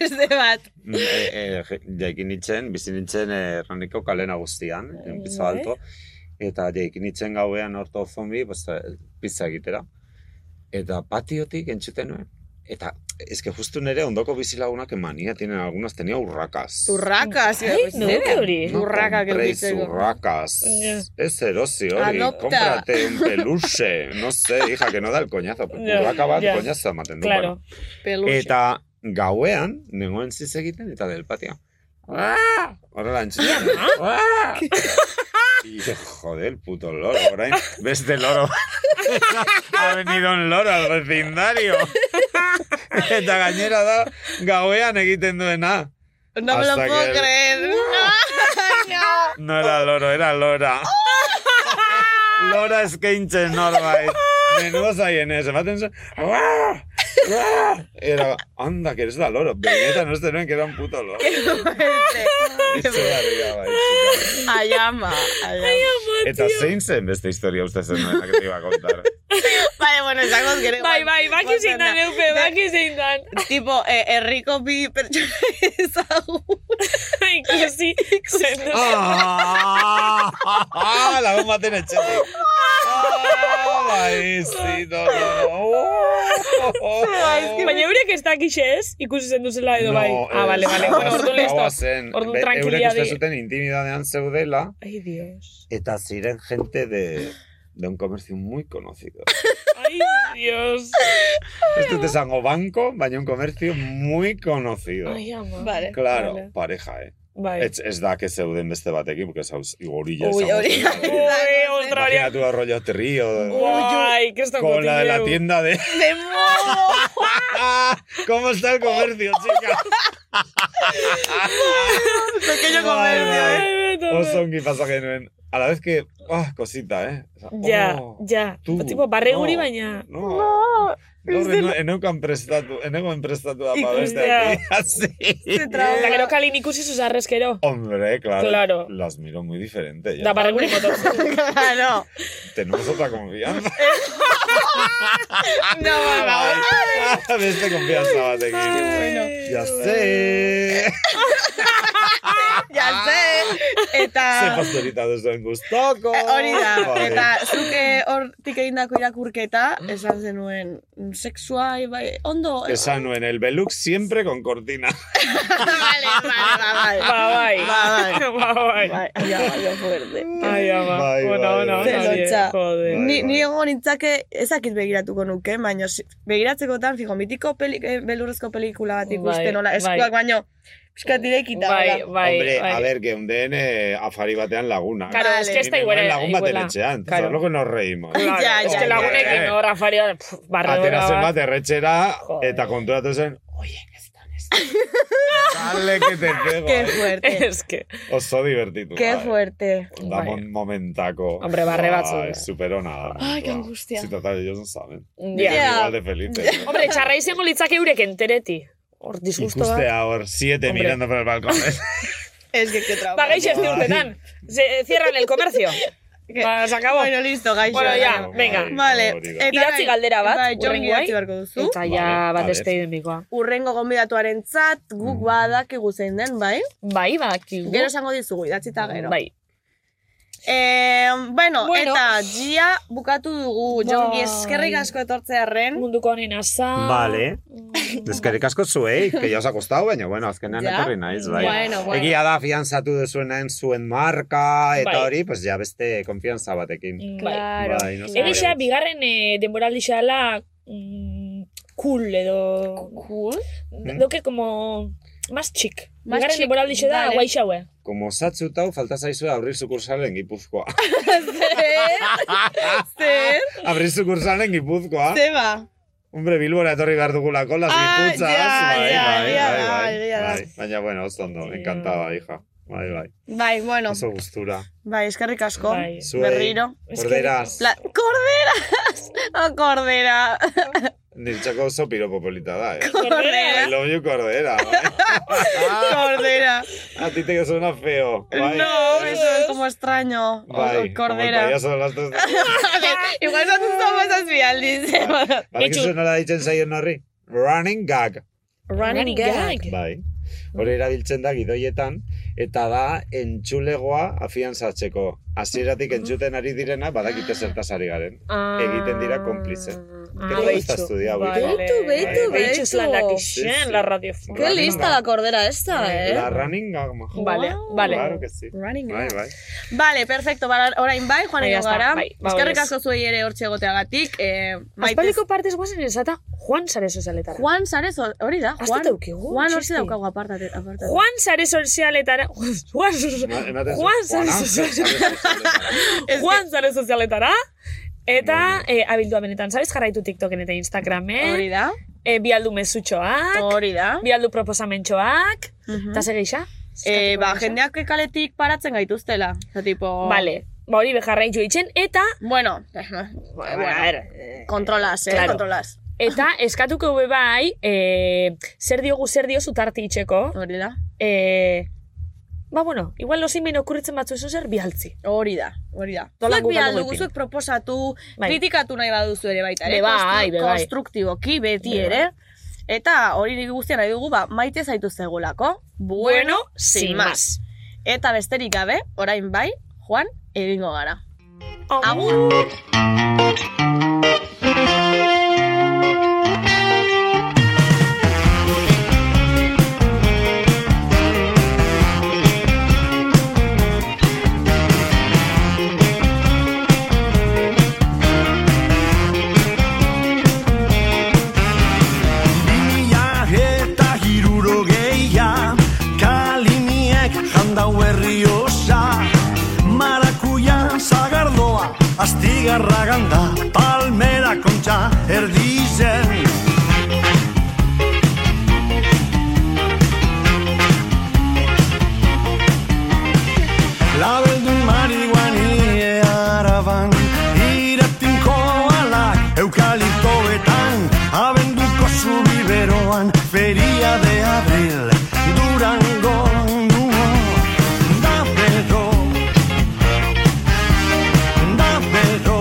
ez de bat. Mm, eh, eh, jaikin nintzen, bizi nintzen eh, Hernaniko kale nagusian, en piso Bai. alto. Eta jaikin nintzen gauean orto zombi, pues, eh, pizza egitera. Eta patiotik entzuten nuen. Eta, es que justu nere ondoko bizilagunak emania tienen algunas, tenía urrakas. Turrakas. Ai, nuke hori. No Urraka compréis gelditzeko. urracas. Ya. Es erosi, hori. Adopta. Cómprate un peluche. No sé, hija, que no da el coñazo. Pues, Ya, urraka bat ya. coñazo ematen du. Claro. bueno. Peluche. Eta gauean, nengoen ziz egiten eta del patio. Ah! Horrela entzuten. Ah! Y dije, joder, el puto loro, orain. Beste loro. ha venido un loro al vecindario. Eta gainera da, gauean egiten duena. No me lo Hasta puedo que- creer. No era loro, era lora. lora eskaintzen norbait. Menudo zaien ez, ematen zen... "Uah! Uah!" Era, anda, que eres la loro. Benetan, ez tenuen, que era un puto loro. Izugarria, bai, txika. Ayama, ayama. eh, Eta zein zen beste historia uste zen duena que te iba a contar. Bai, bueno, esango gero. Bai, bai, baki guazen zein da. dan, eupe, baki zein dan. Tipo, eh, herriko bi pertsona ezagun. Ikusi, zendu. Ah, ah, ah, lagun baten etxetik. Ah, bai, sí, no, no, no. Oh, oh, oh. Baina eurek ez dakixe ez, ikusi zendu zela edo bai. No, ah, vale, ez, vale. gaua Bueno, ordu zen- gaua listo. zen. Ordu Be- tranquilia Eurek di. uste zuten intimidadean zeudela, Ay, Dios. eta ziren gente de, de un comercio muy conocido. Este Ay, Dios. Ez dut esango banco, baina un comercio muy conocido. Ay, ama. Vale. Claro, vale. pareja, eh. Bai. Ez, ez da, que zeuden beste batekin, este porque zauz, gorilla Ui, esango hori. zen. Ui, ostra, hori. Imagina tu arroyo trío. Uai, kriston Con la de la kotilleu. tienda de... ¡Ah! De modo. ¿Cómo está el comercio, chica? Madre mía, eh. Pequeño comercio, eh. Ai, beto, beto. Osongi pasa genuen. A la vez que, ah, cosita, eh. O sea, Ja, oh, ja. tu, pues, Tipo, barreguri no. baina. No, no, no, eneukan prestatu, eneukan prestatu apa beste Ikustea. aquí, así. Eta Eh. gero kalin ikusi zuz arrezkero. Hombre, claro, Claro. las miro muy diferente ya. Da barreguri motor. Claro. Tenemos otra confianza. No, no, no. Ah, beste confianza batekin. Ya sé. Ya sé. Ze Eta... pastorita duzuen gustoko. Hori da, Bai. eta eh, zuke hortik egindako irakurketa, esan zenuen, mm, sexua, bai, ondo... Esan nuen, el Belux siempre con cortina. vale, vale, vale. Ba, bai. Ba, Ba, bai. Bai, ja, ja, fuerte. Ai, ama. Bai, Ona, bai, ona, bai. ona. die, Zelotxa. Joder. bai. Ni, ni egon nintzake, ezakit begiratuko nuke, baina si- begiratzekotan, fijo, mitiko peli, eh, belurrezko pelikula bat Bai, ikusten, nola, eskuak bai. baino, pixkat direkita, Bai, hola. bai, Hombre, a bai. ver, que un DN afari batean laguna. Claro, Vale. es que esta Mi igual hermano lagun baten iguala. etxean, Claro. claro. que nos reímos. Claro, Ja, es ja, que ja. lagunekin horra faria pff, barredora Atera zen bat. bat erretxera Joder. eta konturatu zen, oye, que están Dale, que te Qué pego. fuerte, Es que, Oso divertitu. qué bai. fuerte. Da Bai. mon momentako. Hombre, barre batzu. Bai, superona da. Ay, qué angustia. Si total, ellos no saben. ja. Ja. Igual de felices. Hombre, txarra izango litzak eurek entereti. Hor, disgustoa. Ikustea hor, siete Hombre. mirando por el balcón. Ez que, que trauma. Ba, gaixo ez urtetan. Se, cierran el comercio. Ba, se acabó. Bueno, listo, gaixo. Bueno, ya, venga. Vale. eh. eta Idatzi orain- galdera bat, Bai, Jon hurrengoai. idatzi beharko duzu. Eta ja Vale, bat a ez ber. teimikoa. Urrengo gonbidatuaren zat, Mm. guk badakigu zein den, bai? Bai, badakigu. Gero esango dizugu, idatzita gero. Bai. Eh, bueno, Bueno. Bai. eta gia bukatu dugu. Jongi, eskerrik asko etortzearen. Munduko honen asa. Mm. Vale. Eskerrik asko zuei, que ya os ha costado, baina, bueno, azkenean Ja. etorri naiz, bai. Bueno, bueno. Egia da, fiantzatu duzuenaen zuen marka, eta Bai. hori, pues ja beste konfianza batekin. Claro. Bai, no sé. Egixa, bigarren eh, denboraldi xala mm, cool edo... Cool? Hmm? Doke como... Más chic. Más bigarren chic, denboraldi da vale. guai xaue. Como satzu tau, falta zaizue abrir sucursalen Gipuzkoa. Zer? abrir sucursalen Gipuzkoa. Zeba. Hombre, Bilbora etorri behar dugulako, las gipuzas. ja, bai, ja, bai, egia bai, da, bai, egia da. bai. Baina, bueno, oso ondo, encantada, hija. Bai, bai. Bai, bueno. Oso gustura. Bai, eskerrik asko. Bai. Zuei, Berriro. korderas. La, korderas! O cordera. Nirtxako oso piropo polita da, eh? Cordera. I love you, Cordera. bai. Ah. Cordera. A ti te suena feo. Bai. No, eso es como extraño. O- Bai, o como el cordera. payaso de las tres. A ver, Igual son tus tomas así, aldiz. Badakizu nola ditzen zaion horri? Running gag. Running gag. Bai. Hori erabiltzen da gidoietan, eta da entzulegoa afiantzatzeko. Hasieratik entzuten ari direna, badakite zertaz ari garen. Ah. Egiten dira konplize. Ah, ¿Qué te gusta beitxu, estudiar, vale. Bilbao? Beitu, Bai, beitu, bai. beitu. Lanak ixen, la radiofonía. Qué lista la cordera esta, eh. La running gag, majo. Vale, vale. Claro que sí. Running bai, gag. bai. Vale, perfecto, bara, orain bai, joan Ahí egin está, gara. bai, ba, Eskerrik hori ez. asko zuei ere hortxe egoteagatik. Eh, maite Aspaldiko partez guazen esata Juan Sare sozialetara. Juan Sarez, hori da, Azte Juan. daukigu, Juan hori txiste. daukagu apartate. apartate. Juan Sare sozialetara. Juan, ematen zu- Juan Sare Juan sozialetara. Juan Sare sozialetara. Eta eh, abildua benetan, sabes, jarraitu TikToken eta Instagramen. Hori da. Eh, bialdu mezutxoak. Hori da. Bialdu proposamentxoak. Eta ze geisha? Eh, ba, jendeak kaletik paratzen gaituztela. Eta tipo... Vale. Ba hori bejarraitxu itxen, eta... Bueno, a ver, Kontrolas, eh, Claro. kontrolas. Eta eskatuko be bai, eh, zer diogu zer dio zutarte itxeko. Hori da. Eh, ba bueno, igual los imen okurritzen batzu ezo zer bialtzi. Hori da, hori da. Dolan Zuek guk bidaldu, galdu zuek proposatu, Bai. kritikatu nahi baduzu ere baita. Be Ere, bai, konstru- be bai. Konstruktiboki beti Be ere. Eta hori guztia nahi dugu, ba, maite zaitu zegulako. Bueno, sin más. Eta besterik gabe, orain bai, Juan, egingo gara. Agur! Mila eta hiruro geia Kaliniek jandau herri osa Marakuia zagardoa Astigarra ganda Palmera kontxa erdizen Labeldun marihuani araban Iratinko alak eukaliptoetan Abenduko zubiberoan Feria de abril Durango nuo Da pero Da pero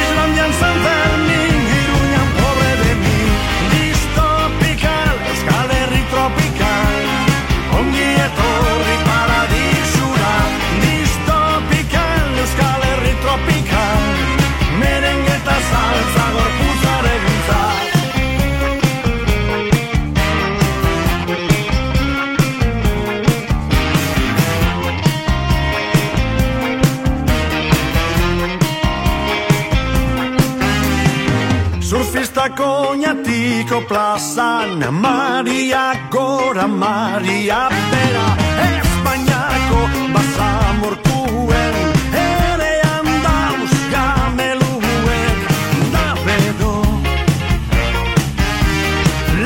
Islandian San Fermin Iruñan pobre de mí Distopical Euskal Herri tropical Ongi etorri paradisura Distopikan Euskal Herri tropikan Merengeta saltza gorpuzare guntza Surfistako oinatiko plazan Maria gora, Maria bera Espainiako basamortuen Ere handauz gameluen Da bedo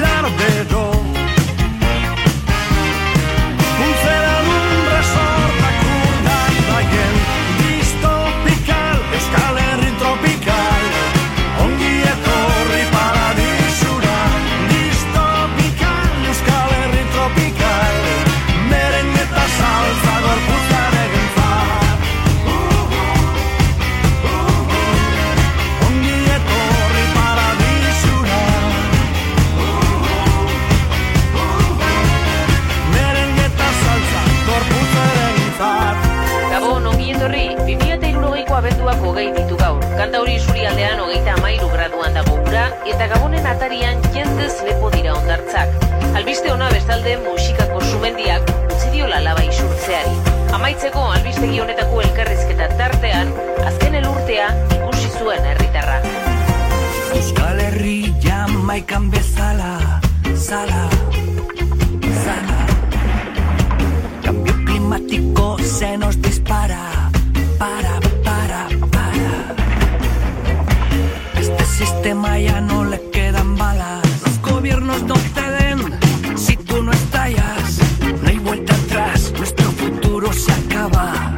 Larbedo Untzera nun resortak urdan daien Distopikal, euskal herri tropikal Ongi etorri paradisura Distopikan Euskal Herri tropikan Neurri, 2008ko abenduak hogei ditu gaur. Kantauri isurialdean hogeita amairu graduan dago ura, eta gabonen atarian jendez lepo dira ondartzak. Albiste ona bestalde musikako sumendiak utzi diola laba isurtzeari. Amaitzeko albistegi honetako elkarrizketa tartean, azken elurtea ikusi zuen herritarra. Euskal Herri jamaikan bezala Zala, zala Cambio climático se nos dispara Para, para, para Este sistema ya no le quedan balas Los gobiernos no te den Si tú no estallas No hay vuelta atrás Nuestro futuro se acaba